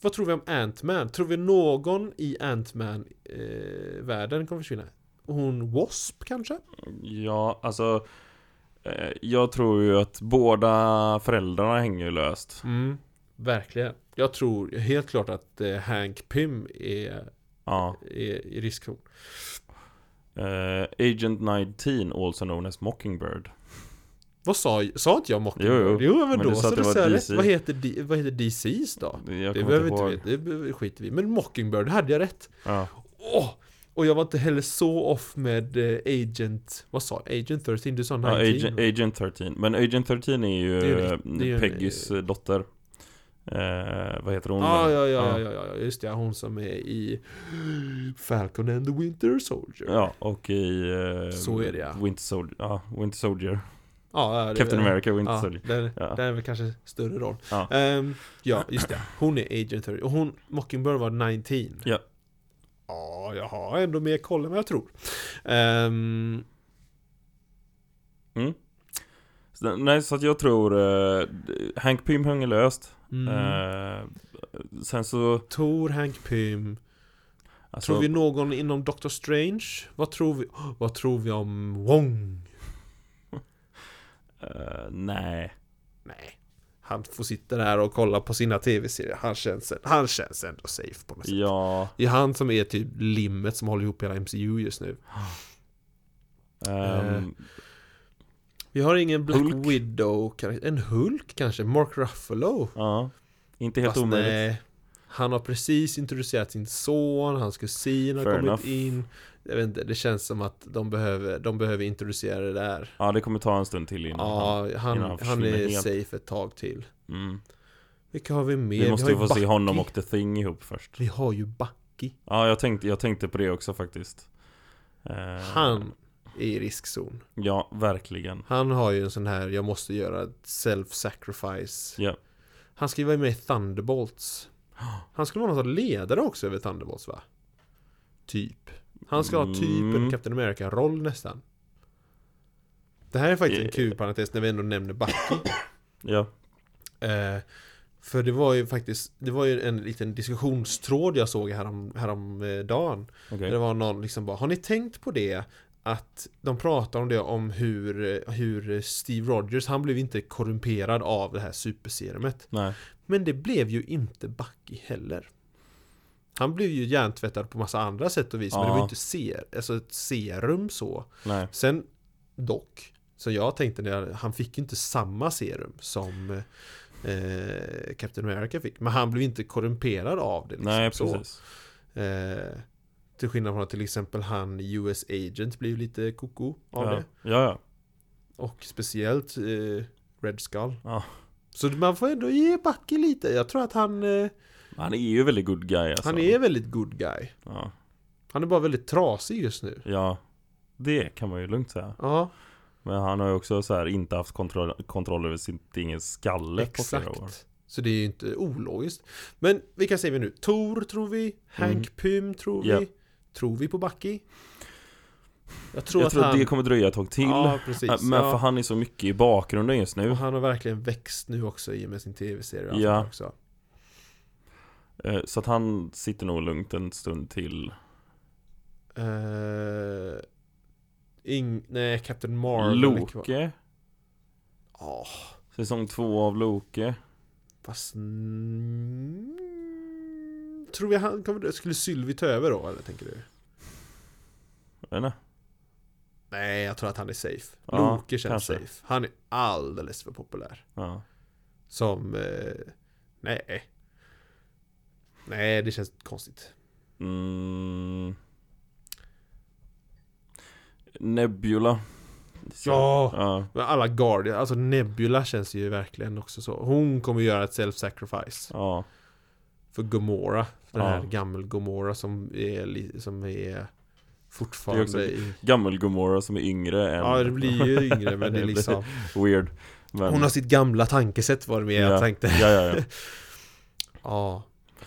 [SPEAKER 2] Vad tror vi om Ant-Man? Tror vi någon i Ant-Man-världen kommer försvinna? Hon Wasp kanske?
[SPEAKER 1] Ja, alltså eh, Jag tror ju att båda föräldrarna hänger ju löst
[SPEAKER 2] Mm, verkligen. Jag tror helt klart att eh, Hank Pym är,
[SPEAKER 1] Ja
[SPEAKER 2] är i riskzon.
[SPEAKER 1] eh, Agent 19, also known as Mockingbird
[SPEAKER 2] Vad sa, sa inte jag Mockingbird?
[SPEAKER 1] Jo, jo.
[SPEAKER 2] men,
[SPEAKER 1] Men
[SPEAKER 2] då
[SPEAKER 1] du sa
[SPEAKER 2] så
[SPEAKER 1] att det
[SPEAKER 2] det
[SPEAKER 1] var
[SPEAKER 2] var
[SPEAKER 1] DC.
[SPEAKER 2] rätt. Vad heter, D- vad heter DC's då?
[SPEAKER 1] Jag
[SPEAKER 2] det
[SPEAKER 1] kommer
[SPEAKER 2] behöver
[SPEAKER 1] inte
[SPEAKER 2] inte
[SPEAKER 1] ihåg
[SPEAKER 2] vi, det be- skiter vi i. Men Mockingbird hade jag rätt.
[SPEAKER 1] ja.
[SPEAKER 2] Åh! Och jag var inte heller så off med eh, Agent, vad sa jag? Agent 13? Du sa 19?
[SPEAKER 1] ja, Agent, Agent 13 Men Agent 13 är ju
[SPEAKER 2] Det är ju-
[SPEAKER 1] eh,
[SPEAKER 2] det är ju-
[SPEAKER 1] Peggys eh, dotter eh, Vad heter hon?
[SPEAKER 2] ah, ja, ja, ja, ja, ja, just det. Hon som är i Falcon and the Winter Soldier.
[SPEAKER 1] Ja, och i... eh,
[SPEAKER 2] Så är det, ja.
[SPEAKER 1] Winter Soldier, ja, Winter Soldier.
[SPEAKER 2] Ja, ja, det-
[SPEAKER 1] Captain America, Winter
[SPEAKER 2] Ja,
[SPEAKER 1] Soldier
[SPEAKER 2] den,
[SPEAKER 1] Ja.
[SPEAKER 2] den är väl kanske större roll.
[SPEAKER 1] Ja.
[SPEAKER 2] Ehm, ja, just det. Hon är Agent 30. Och hon, Mockingbird var 19.
[SPEAKER 1] Ja.
[SPEAKER 2] Ja, jag har ändå mer koll än vad jag tror. Ehm,
[SPEAKER 1] mm. Så den- Nej, så att jag tror eh, Hank Pym hänger löst
[SPEAKER 2] mm,
[SPEAKER 1] Eh, sen så...
[SPEAKER 2] Thor, Hank Pym.
[SPEAKER 1] Alltså,
[SPEAKER 2] Tror vi någon inom Doctor Strange? Vad tror vi, vad tror vi om Wong?
[SPEAKER 1] eh, nej.
[SPEAKER 2] Nej. Han får sitta där och kolla på sina tv-serier. Han känns, han känns ändå safe på något sätt.
[SPEAKER 1] Ja.
[SPEAKER 2] Det är han som är typ limmet som håller ihop hela MCU just nu. Eh,
[SPEAKER 1] ehm,
[SPEAKER 2] Vi har ingen Black
[SPEAKER 1] Hulk.
[SPEAKER 2] Widow karaktär. En Hulk kanske? Mark Ruffalo?
[SPEAKER 1] ja. Inte helt
[SPEAKER 2] Fast
[SPEAKER 1] omöjligt.
[SPEAKER 2] nej. Han har precis introducerat sin son, hans kusin har
[SPEAKER 1] Fair
[SPEAKER 2] kommit
[SPEAKER 1] enough.
[SPEAKER 2] in. Jag vet inte, det känns som att de behöver, de behöver introducera det där.
[SPEAKER 1] Ja, det kommer ta en stund till innan. han-
[SPEAKER 2] Ja, han,
[SPEAKER 1] innan han
[SPEAKER 2] han,
[SPEAKER 1] försvinner
[SPEAKER 2] är
[SPEAKER 1] helt.
[SPEAKER 2] safe ett tag till.
[SPEAKER 1] Mm.
[SPEAKER 2] Vilka har vi mer?
[SPEAKER 1] Vi måste
[SPEAKER 2] har
[SPEAKER 1] ju få se honom
[SPEAKER 2] Bucky.
[SPEAKER 1] och The Thing ihop först.
[SPEAKER 2] Vi har ju Bucky.
[SPEAKER 1] Ja, jag tänkte, jag tänkte på det också faktiskt. Eh,
[SPEAKER 2] Han är i riskzon.
[SPEAKER 1] Ja, verkligen.
[SPEAKER 2] Han har ju en sån här, jag måste göra ett self-sacrifice.
[SPEAKER 1] Ja.
[SPEAKER 2] Han ska ju vara med i Thunderbolts. Han skulle vara någon sorts ledare också över Thunderbolts va? Typ. Han ska ha typ
[SPEAKER 1] Mm.
[SPEAKER 2] en Captain America-roll nästan. Det här är faktiskt en
[SPEAKER 1] Eh.
[SPEAKER 2] kul parentes när vi ändå nämner Bucky.
[SPEAKER 1] Ja.
[SPEAKER 2] Eh, för det var ju faktiskt, det var ju en liten diskussionstråd jag såg härom, eh, häromdagen.
[SPEAKER 1] Okej.
[SPEAKER 2] Det var någon liksom bara, har ni tänkt på det? Att de pratar om det om hur, hur Steve Rogers, han blev inte korrumperad av det här superserumet.
[SPEAKER 1] Nej.
[SPEAKER 2] Men det blev ju inte Bucky heller. Han blev ju hjärntvättad på massa andra sätt och vis, men det var
[SPEAKER 1] Ja.
[SPEAKER 2] ju inte ser, alltså ett serum så.
[SPEAKER 1] Nej.
[SPEAKER 2] Sen dock, så jag tänkte när jag, han fick ju inte samma serum som eh, Captain America fick. Men han blev inte korrumperad av det. Liksom,
[SPEAKER 1] Nej,
[SPEAKER 2] så.
[SPEAKER 1] precis.
[SPEAKER 2] Eh, till skillnad från att till exempel han US Agent blev lite koko av
[SPEAKER 1] Ja.
[SPEAKER 2] det.
[SPEAKER 1] ja, ja.
[SPEAKER 2] Och speciellt eh, Red Skull.
[SPEAKER 1] Ja.
[SPEAKER 2] Så man får ändå ge Bucky lite. Jag tror att han, eh,
[SPEAKER 1] Han är ju väldigt good guy alltså.
[SPEAKER 2] han är väldigt good guy.
[SPEAKER 1] Ja.
[SPEAKER 2] Han är bara väldigt trasig just nu.
[SPEAKER 1] ja. Det kan man ju lugnt säga.
[SPEAKER 2] Ja,
[SPEAKER 1] Men han har ju också så här inte haft kontroll, kontroll över sin egen skalle på flera år.
[SPEAKER 2] exakt. Så det är ju inte ologiskt. Men vilka säger vi nu? Tor tror vi. Hank
[SPEAKER 1] Mm.
[SPEAKER 2] Pym tror vi.
[SPEAKER 1] Ja.
[SPEAKER 2] Tror vi på Bucky? Jag tror
[SPEAKER 1] jag
[SPEAKER 2] att
[SPEAKER 1] tror
[SPEAKER 2] han...
[SPEAKER 1] att det kommer dröja ett tag till.
[SPEAKER 2] Ja, precis.
[SPEAKER 1] Äh, Men
[SPEAKER 2] ja.
[SPEAKER 1] för han är så mycket i bakgrunden just nu.
[SPEAKER 2] Och han har verkligen växt nu också i och med sin tv-serie och allt
[SPEAKER 1] Ja.
[SPEAKER 2] det där också.
[SPEAKER 1] Eh, Så att han sitter nog lugnt en stund till.
[SPEAKER 2] Eh, ing, nej, Captain Marvel Ah, är kvar.
[SPEAKER 1] Loke.
[SPEAKER 2] Ja,
[SPEAKER 1] Säsong två av Loke.
[SPEAKER 2] fast... Mm, tror vi han kommer... Skulle Sylvie ta över då, eller tänker du?
[SPEAKER 1] Jag vet inte.
[SPEAKER 2] Nej, jag tror att han är safe.
[SPEAKER 1] Ja,
[SPEAKER 2] Loke känns
[SPEAKER 1] kanske.
[SPEAKER 2] safe. Han är alldeles för populär.
[SPEAKER 1] Ja.
[SPEAKER 2] Som... Eh, nej. Nej, det känns konstigt.
[SPEAKER 1] Mm. Nebula. Guardians
[SPEAKER 2] Ja.
[SPEAKER 1] ja.
[SPEAKER 2] Men alla Guardian, alltså Nebula känns ju verkligen också så. Hon kommer göra ett self-sacrifice
[SPEAKER 1] ja.
[SPEAKER 2] för Gomora. Den
[SPEAKER 1] Ja.
[SPEAKER 2] här gammel Gomora som är, li- som är fortfarande
[SPEAKER 1] också-
[SPEAKER 2] i...
[SPEAKER 1] Gammel Gomorra som är yngre än
[SPEAKER 2] Ja, det blir ju yngre men det är liksom...
[SPEAKER 1] Weird men,
[SPEAKER 2] Hon har sitt gamla tankesätt var det mer jag tänkte.
[SPEAKER 1] ja, ja, ja.
[SPEAKER 2] Ja.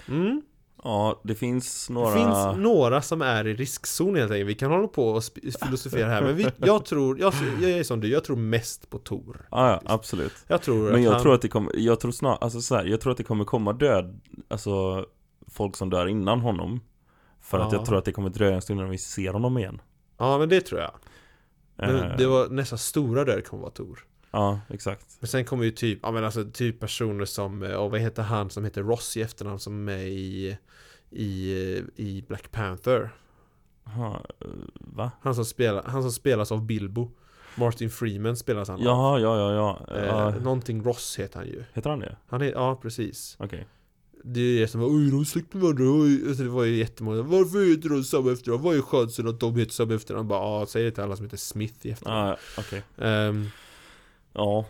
[SPEAKER 2] Mm.
[SPEAKER 1] ja, det finns några
[SPEAKER 2] Det finns några som är i riskzon helt enkelt. Vi kan hålla på och sp- filosofera här. Men vi, jag tror, jag, jag är som du, jag tror mest på Tor.
[SPEAKER 1] ja, ja, absolut
[SPEAKER 2] Jag tror
[SPEAKER 1] Men
[SPEAKER 2] att
[SPEAKER 1] jag
[SPEAKER 2] han,
[SPEAKER 1] tror att det kommer, jag tror snart, alltså så här, jag tror att det kommer komma död, alltså folk som dör innan honom För att
[SPEAKER 2] Ja.
[SPEAKER 1] jag tror att det kommer dröja en stund innan vi ser honom igen
[SPEAKER 2] Ja men det tror jag.
[SPEAKER 1] Eh,
[SPEAKER 2] Men det var nästa stora död kommer vara Tor.
[SPEAKER 1] Ja, exakt
[SPEAKER 2] Men sen kommer ju typ, ja men alltså typ personer som, eh, och vad heter han som heter Ross i efternamn som är i, i, eh, i Black Panther.
[SPEAKER 1] Aha, eh, Va?
[SPEAKER 2] Han som, spelar, han som spelas av Bilbo. Martin Freeman spelas han av.
[SPEAKER 1] Jaha, ja, ja, ja,
[SPEAKER 2] Eh,
[SPEAKER 1] ja.
[SPEAKER 2] Någonting Ross heter han ju.
[SPEAKER 1] Heter han det?
[SPEAKER 2] Han är, ja precis.
[SPEAKER 1] Okej
[SPEAKER 2] Det är ju det som var oj de är släkt med varandra, oj. Alltså, det var ju jättemånga, varför heter de samma efternamn? Vad är chansen att de heter samma efternamn? Bara, ja, säg det till alla som heter Smith i efternamn.
[SPEAKER 1] ja Ah, okej
[SPEAKER 2] Ehm,
[SPEAKER 1] Ja,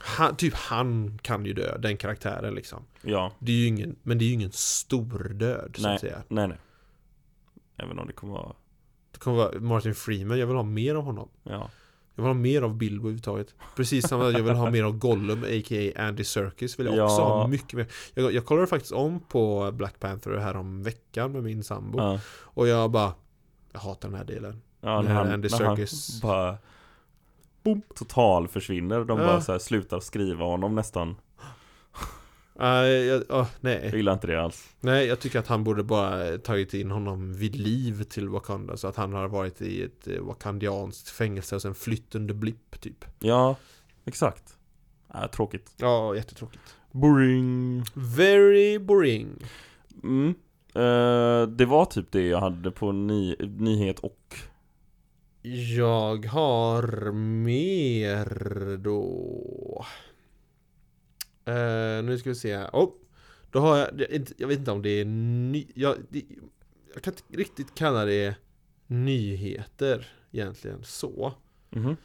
[SPEAKER 2] han, typ han kan ju dö, den karaktären liksom.
[SPEAKER 1] ja,
[SPEAKER 2] Det är ju ingen, men det är ju ingen stor död så
[SPEAKER 1] Nej.
[SPEAKER 2] att säga.
[SPEAKER 1] nej nej Även om det kommer vara,
[SPEAKER 2] Det kommer vara Martin Freeman, jag vill ha mer av honom.
[SPEAKER 1] ja
[SPEAKER 2] Jag vill ha mer av Bilbo överhuvudtaget. Precis samma, jag vill ha mer av Gollum, a.k.a. Andy Serkis vill jag också
[SPEAKER 1] Ja.
[SPEAKER 2] ha mycket mer. Jag, jag kollade faktiskt om på Black Panther här om veckan med min sambo.
[SPEAKER 1] Ja,
[SPEAKER 2] Och jag bara, jag hatar den här delen.
[SPEAKER 1] ja
[SPEAKER 2] Det
[SPEAKER 1] när
[SPEAKER 2] här
[SPEAKER 1] han,
[SPEAKER 2] är Andy
[SPEAKER 1] när han
[SPEAKER 2] Serkis.
[SPEAKER 1] bara
[SPEAKER 2] Boom.
[SPEAKER 1] Total försvinner, de
[SPEAKER 2] Ja.
[SPEAKER 1] bara så här slutar skriva honom nästan
[SPEAKER 2] Nej, jag, ah,
[SPEAKER 1] Jag
[SPEAKER 2] nej.
[SPEAKER 1] gillar inte det alls
[SPEAKER 2] nej, jag tycker att han borde bara tagit in honom vid liv till Wakanda så att han har varit i ett eh, wakandianskt fängelse och sen flytt under blipp typ.
[SPEAKER 1] Ja, exakt äh, Tråkigt
[SPEAKER 2] Ja, jättetråkigt.
[SPEAKER 1] Boring.
[SPEAKER 2] Very boring.
[SPEAKER 1] Mm. Eh, det var typ det jag hade på ny- nyhet och
[SPEAKER 2] Jag har mer då. Eh, nu ska vi se. här. Oh, då har jag, det är inte- jag vet inte om det är ny, jag, det, jag kan inte riktigt kalla det nyheter egentligen så.
[SPEAKER 1] Mhm.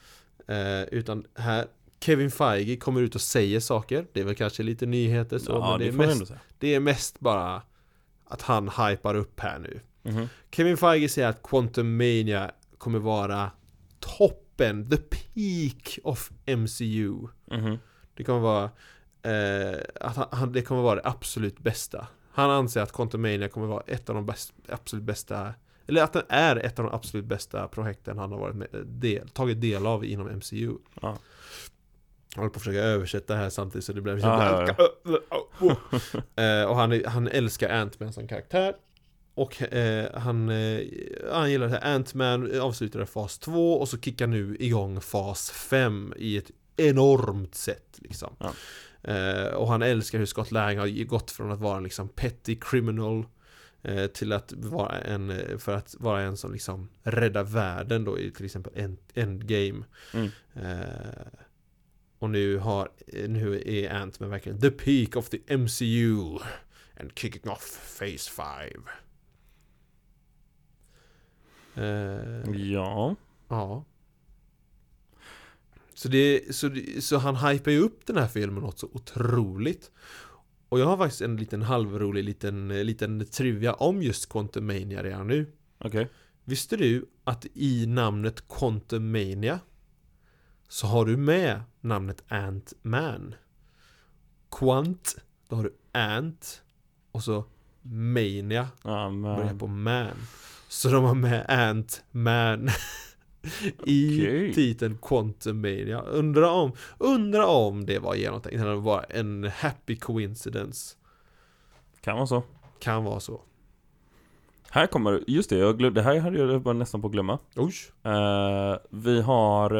[SPEAKER 2] Eh, utan här, Kevin Feige kommer ut och säger saker. Det är väl kanske lite nyheter så,
[SPEAKER 1] ja,
[SPEAKER 2] men det,
[SPEAKER 1] det,
[SPEAKER 2] är
[SPEAKER 1] får man
[SPEAKER 2] mest,
[SPEAKER 1] ändå säga.
[SPEAKER 2] det är mest bara att han hypar upp här nu.
[SPEAKER 1] Mhm.
[SPEAKER 2] Kevin Feige säger att Quantum Mania kommer vara toppen, the peak of MCU.
[SPEAKER 1] Mhm.
[SPEAKER 2] Det kommer vara eh, att han- han, det kommer vara det absolut bästa. Han anser att Quantum Mania kommer vara ett av de bäst, absolut bästa eller att den är ett av de absolut bästa projekten han har varit med, del, tagit del av inom MCU.
[SPEAKER 1] Ja.
[SPEAKER 2] Jag håller på att försöka översätta här samtidigt så det blir...
[SPEAKER 1] Ja,
[SPEAKER 2] Eh, och han, är- han älskar Ant-Man som karaktär. Och eh, han, eh, han gillar det här. Ant-Man avslutade fas 2 och så kickar nu igång fas 5 i ett enormt sätt liksom.
[SPEAKER 1] Ja.
[SPEAKER 2] Eh, och han älskar hur Scott Lang har gått från att vara en liksom petty criminal eh, till att vara en, eh, för att vara en som liksom räddar världen då i till exempel End- Endgame.
[SPEAKER 1] Mm.
[SPEAKER 2] Eh, och nu, har, eh, nu är Ant-Man verkligen the peak of the MCU and kicking off phase 5. Eh,
[SPEAKER 1] Ja.
[SPEAKER 2] ja. Så, det, så, det, så han hypar ju upp den här filmen något så otroligt. Och jag har faktiskt en liten halvrolig liten, liten trivia om just Quantum Mania redan nu.
[SPEAKER 1] Okej.
[SPEAKER 2] Visste du att i namnet Quantumania så har du med namnet Ant-Man? Quant, då har du Ant och så Mania
[SPEAKER 1] Ja,
[SPEAKER 2] börjar
[SPEAKER 1] men...
[SPEAKER 2] på Man. Så de har med Ant-Man i
[SPEAKER 1] Okej.
[SPEAKER 2] titeln Quantumania. Undra om, undra om det var genomtänkt eller var en happy coincidence.
[SPEAKER 1] Kan vara så.
[SPEAKER 2] Kan vara så.
[SPEAKER 1] Här kommer, just det, jag glömde, det här hade jag bara nästan på att glömma.
[SPEAKER 2] Oj,
[SPEAKER 1] Eh, vi har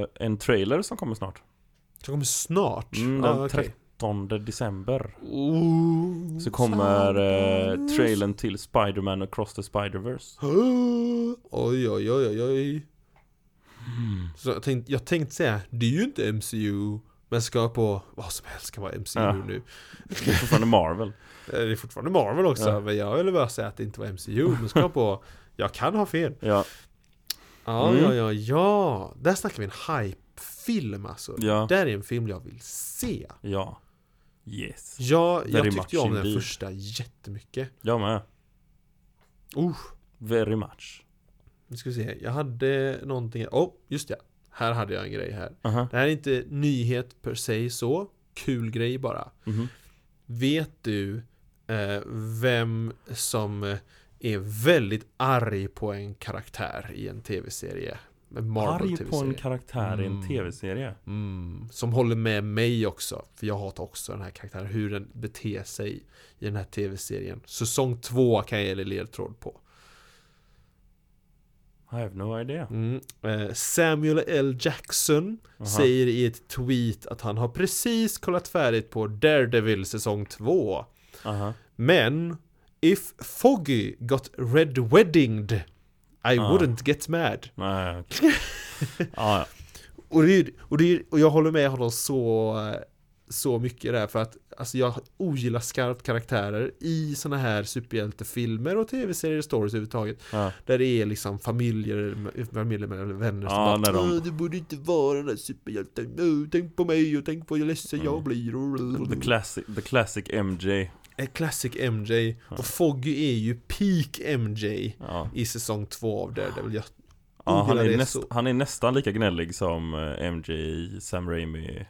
[SPEAKER 1] eh, en trailer som kommer snart.
[SPEAKER 2] så kommer snart.
[SPEAKER 1] Mm, den
[SPEAKER 2] Ah, okej.
[SPEAKER 1] 13
[SPEAKER 2] Mm.
[SPEAKER 1] december.
[SPEAKER 2] Ooh,
[SPEAKER 1] Så kommer eh,
[SPEAKER 2] Sanders.
[SPEAKER 1] trailern till Spider-Man Across the Spider-Verse.
[SPEAKER 2] Oj, oj, oj, oj, oj.
[SPEAKER 1] Hmm.
[SPEAKER 2] Så jag tänkte, jag tänkte säga, det är ju inte MCU. Men ska jag på vad som helst kan vara MCU
[SPEAKER 1] Ja.
[SPEAKER 2] nu.
[SPEAKER 1] Det är fortfarande Marvel.
[SPEAKER 2] Eh, Det är fortfarande Marvel också.
[SPEAKER 1] Ja.
[SPEAKER 2] Men jag ville bara säga att det inte var MCU. Men ska jag på, jag kan ha fel.
[SPEAKER 1] Ja.
[SPEAKER 2] Ja,
[SPEAKER 1] Mm.
[SPEAKER 2] ja, ja, ja. Där snackar vi en hype-film alltså.
[SPEAKER 1] Ja.
[SPEAKER 2] Där är en film jag vill se.
[SPEAKER 1] Ja. Yes.
[SPEAKER 2] Ja,
[SPEAKER 1] Very
[SPEAKER 2] jag tyckte ju
[SPEAKER 1] much
[SPEAKER 2] om den
[SPEAKER 1] indeed.
[SPEAKER 2] första jättemycket.
[SPEAKER 1] Jag med.
[SPEAKER 2] Uh,
[SPEAKER 1] Very much.
[SPEAKER 2] nu ska vi se. Jag hade någonting. Åh, oh, just det. Här hade jag en grej här.
[SPEAKER 1] Aha.
[SPEAKER 2] Det här är inte nyhet per se så. Kul grej bara.
[SPEAKER 1] Mhm.
[SPEAKER 2] Vet du eh, vem som eh, är väldigt arg på en karaktär i en tv-serie?
[SPEAKER 1] Arg
[SPEAKER 2] En
[SPEAKER 1] på en
[SPEAKER 2] Marvel-tv-serie.
[SPEAKER 1] karaktär i en
[SPEAKER 2] Mm.
[SPEAKER 1] tv-serie.
[SPEAKER 2] Mm, som håller med mig också. För jag hatar också den här karaktären. Hur den beter sig i den här tv-serien. Säsong två kan jag ge dig ledtråd på.
[SPEAKER 1] I have no idea.
[SPEAKER 2] Mm. Eh, Samuel L. Jackson
[SPEAKER 1] Aha.
[SPEAKER 2] säger i ett tweet att han har precis kollat färdigt på Daredevil säsong två.
[SPEAKER 1] Aha.
[SPEAKER 2] Men If Foggy got red weddinged I
[SPEAKER 1] Ah.
[SPEAKER 2] wouldn't get mad.
[SPEAKER 1] Nej, okej. ah, ja.
[SPEAKER 2] Och, det, är- och, det, är- och jag håller med honom så, så mycket där för att alltså jag ogillar skarpt karaktärer i såna här superhjältefilmer och tv-serier och stories överhuvudtaget.
[SPEAKER 1] Ja.
[SPEAKER 2] Där det är liksom familjer, familjer eller vänner som
[SPEAKER 1] Ja, när
[SPEAKER 2] bara
[SPEAKER 1] de-
[SPEAKER 2] "Åh, Du borde inte vara den där superhjälten, Åh, tänk på mig och tänk vad jag ledsen jag
[SPEAKER 1] Mm.
[SPEAKER 2] blir.
[SPEAKER 1] The classic, the classic MJ.
[SPEAKER 2] En classic MJ.
[SPEAKER 1] Ja.
[SPEAKER 2] Och Foggy är ju peak MJ.
[SPEAKER 1] Ja.
[SPEAKER 2] i säsong två av Daredevil. Jag,
[SPEAKER 1] Ja, han,
[SPEAKER 2] Ogillar
[SPEAKER 1] är
[SPEAKER 2] det
[SPEAKER 1] näst,
[SPEAKER 2] så.
[SPEAKER 1] han är nästan lika gnällig som eh, MJ i Sam Raimi.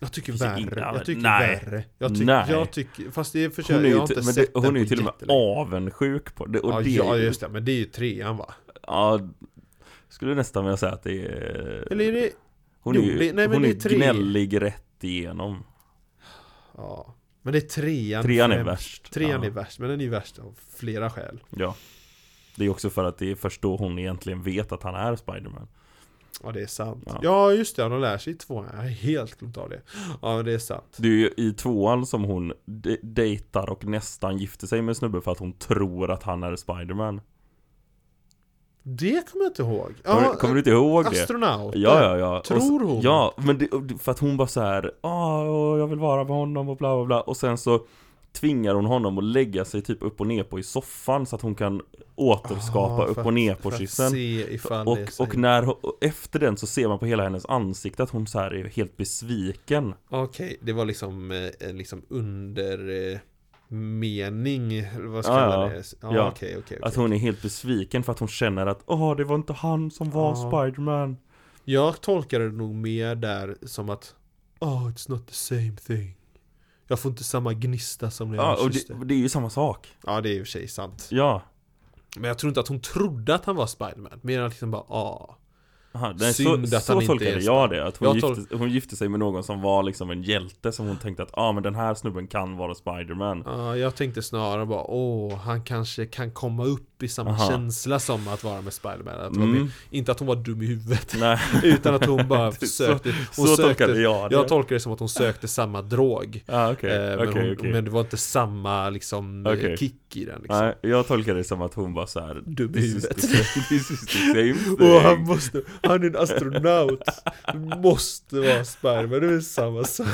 [SPEAKER 2] jag tycker
[SPEAKER 1] Finns det
[SPEAKER 2] värre.
[SPEAKER 1] ingen-
[SPEAKER 2] Jag tycker
[SPEAKER 1] Nej.
[SPEAKER 2] värre. Jag, tyck,
[SPEAKER 1] Nej.
[SPEAKER 2] jag tycker, fast det försöker
[SPEAKER 1] Hon är
[SPEAKER 2] jag
[SPEAKER 1] ju,
[SPEAKER 2] har inte
[SPEAKER 1] till- men det,
[SPEAKER 2] sett
[SPEAKER 1] hon
[SPEAKER 2] den
[SPEAKER 1] är ju
[SPEAKER 2] på
[SPEAKER 1] till och med
[SPEAKER 2] jättelänge.
[SPEAKER 1] avundsjuk på det. Och
[SPEAKER 2] Ja,
[SPEAKER 1] det
[SPEAKER 2] ja,
[SPEAKER 1] är ju,
[SPEAKER 2] just det. Men det är ju trean va?
[SPEAKER 1] ja, skulle nästan vilja säga att det är...
[SPEAKER 2] Eller är det...
[SPEAKER 1] hon
[SPEAKER 2] jo,
[SPEAKER 1] är ju
[SPEAKER 2] det- nej, men
[SPEAKER 1] hon är
[SPEAKER 2] det
[SPEAKER 1] ju
[SPEAKER 2] är tre.
[SPEAKER 1] gnällig rätt igenom.
[SPEAKER 2] Ja. Men det är trean.
[SPEAKER 1] Trean är
[SPEAKER 2] främst.
[SPEAKER 1] värst.
[SPEAKER 2] Trean
[SPEAKER 1] ja.
[SPEAKER 2] är värst, men den är ju värst av flera skäl.
[SPEAKER 1] Ja. Det är också för att det är först då hon egentligen vet att han är Spiderman.
[SPEAKER 2] Ja, det är sant.
[SPEAKER 1] Ja.
[SPEAKER 2] Ja, just det. De lär sig i tvåan. Jag har helt glömt av det. Ja, men det är sant.
[SPEAKER 1] Det är ju i tvåan som hon de- dejtar och nästan gifter sig med en snubbe för att hon tror att han är Spiderman.
[SPEAKER 2] Det kommer jag inte ihåg.
[SPEAKER 1] Kommer,
[SPEAKER 2] Ja,
[SPEAKER 1] kommer du inte ihåg det?
[SPEAKER 2] astronaut.
[SPEAKER 1] Ja, ja, ja. Och så-
[SPEAKER 2] Tror hon?
[SPEAKER 1] Ja, men det, och det- för att hon bara så här, "Ah, åh, jag vill vara med honom och bla bla bla. Och sen så tvingar hon honom att lägga sig typ upp och ner på i soffan så att hon kan återskapa
[SPEAKER 2] Ah,
[SPEAKER 1] upp
[SPEAKER 2] för
[SPEAKER 1] och ner på
[SPEAKER 2] För att
[SPEAKER 1] kyssen.
[SPEAKER 2] se ifall
[SPEAKER 1] Och,
[SPEAKER 2] det är så-
[SPEAKER 1] och när, hon- och efter den så ser man på hela hennes ansikte att hon så här är helt besviken.
[SPEAKER 2] Okej, det var liksom eh, en liksom under eh, mening, eller vad ska
[SPEAKER 1] Ja,
[SPEAKER 2] man
[SPEAKER 1] ja.
[SPEAKER 2] det? Ja,
[SPEAKER 1] Ja. Alltså-
[SPEAKER 2] okej, okej,
[SPEAKER 1] Att
[SPEAKER 2] okej.
[SPEAKER 1] hon är helt besviken för att hon känner att åh, det var inte han som var
[SPEAKER 2] Ja.
[SPEAKER 1] Spiderman.
[SPEAKER 2] Jag tolkade det nog mer där som att Oh, it's not the same thing. Jag får inte samma gnista som när jag
[SPEAKER 1] Ja, och
[SPEAKER 2] kysste.
[SPEAKER 1] det, det är ju samma sak.
[SPEAKER 2] Ja, det är i och för sig sant.
[SPEAKER 1] Ja.
[SPEAKER 2] Men jag tror inte att hon trodde att han var Spiderman. Mer än att liksom bara, ah.
[SPEAKER 1] Aha, nej,
[SPEAKER 2] Synd
[SPEAKER 1] så,
[SPEAKER 2] att
[SPEAKER 1] så
[SPEAKER 2] han inte
[SPEAKER 1] tolkade
[SPEAKER 2] är
[SPEAKER 1] jag det, att hon,
[SPEAKER 2] Jag tol-
[SPEAKER 1] gifte, hon gifte sig med någon som var liksom en hjälte som hon tänkte att ah, men den här snubben kan vara Spiderman
[SPEAKER 2] Ja, jag tänkte snarare bara, åh, han kanske kan komma upp i samma
[SPEAKER 1] Aha.
[SPEAKER 2] känsla som att vara med Spiderman. Att det var
[SPEAKER 1] mm,
[SPEAKER 2] mer- Inte att hon var dum i huvudet,
[SPEAKER 1] Nej,
[SPEAKER 2] utan att hon bara
[SPEAKER 1] Så-
[SPEAKER 2] sökte.
[SPEAKER 1] så
[SPEAKER 2] Hon sökte
[SPEAKER 1] tolkade jag det
[SPEAKER 2] Jag tolkar det som att hon sökte samma drog.
[SPEAKER 1] ah, okej,
[SPEAKER 2] eh, men,
[SPEAKER 1] okej,
[SPEAKER 2] hon,
[SPEAKER 1] okej.
[SPEAKER 2] men det var inte samma liksom eh,
[SPEAKER 1] Okej.
[SPEAKER 2] kick i den liksom.
[SPEAKER 1] Nej, jag tolkade det som att hon bara såhär
[SPEAKER 2] Dum i
[SPEAKER 1] This is the
[SPEAKER 2] huvudet.
[SPEAKER 1] same- this is the same
[SPEAKER 2] Åh, han
[SPEAKER 1] thing
[SPEAKER 2] måste, han är en astronaut. Du måste vara sperma, det är samma sak.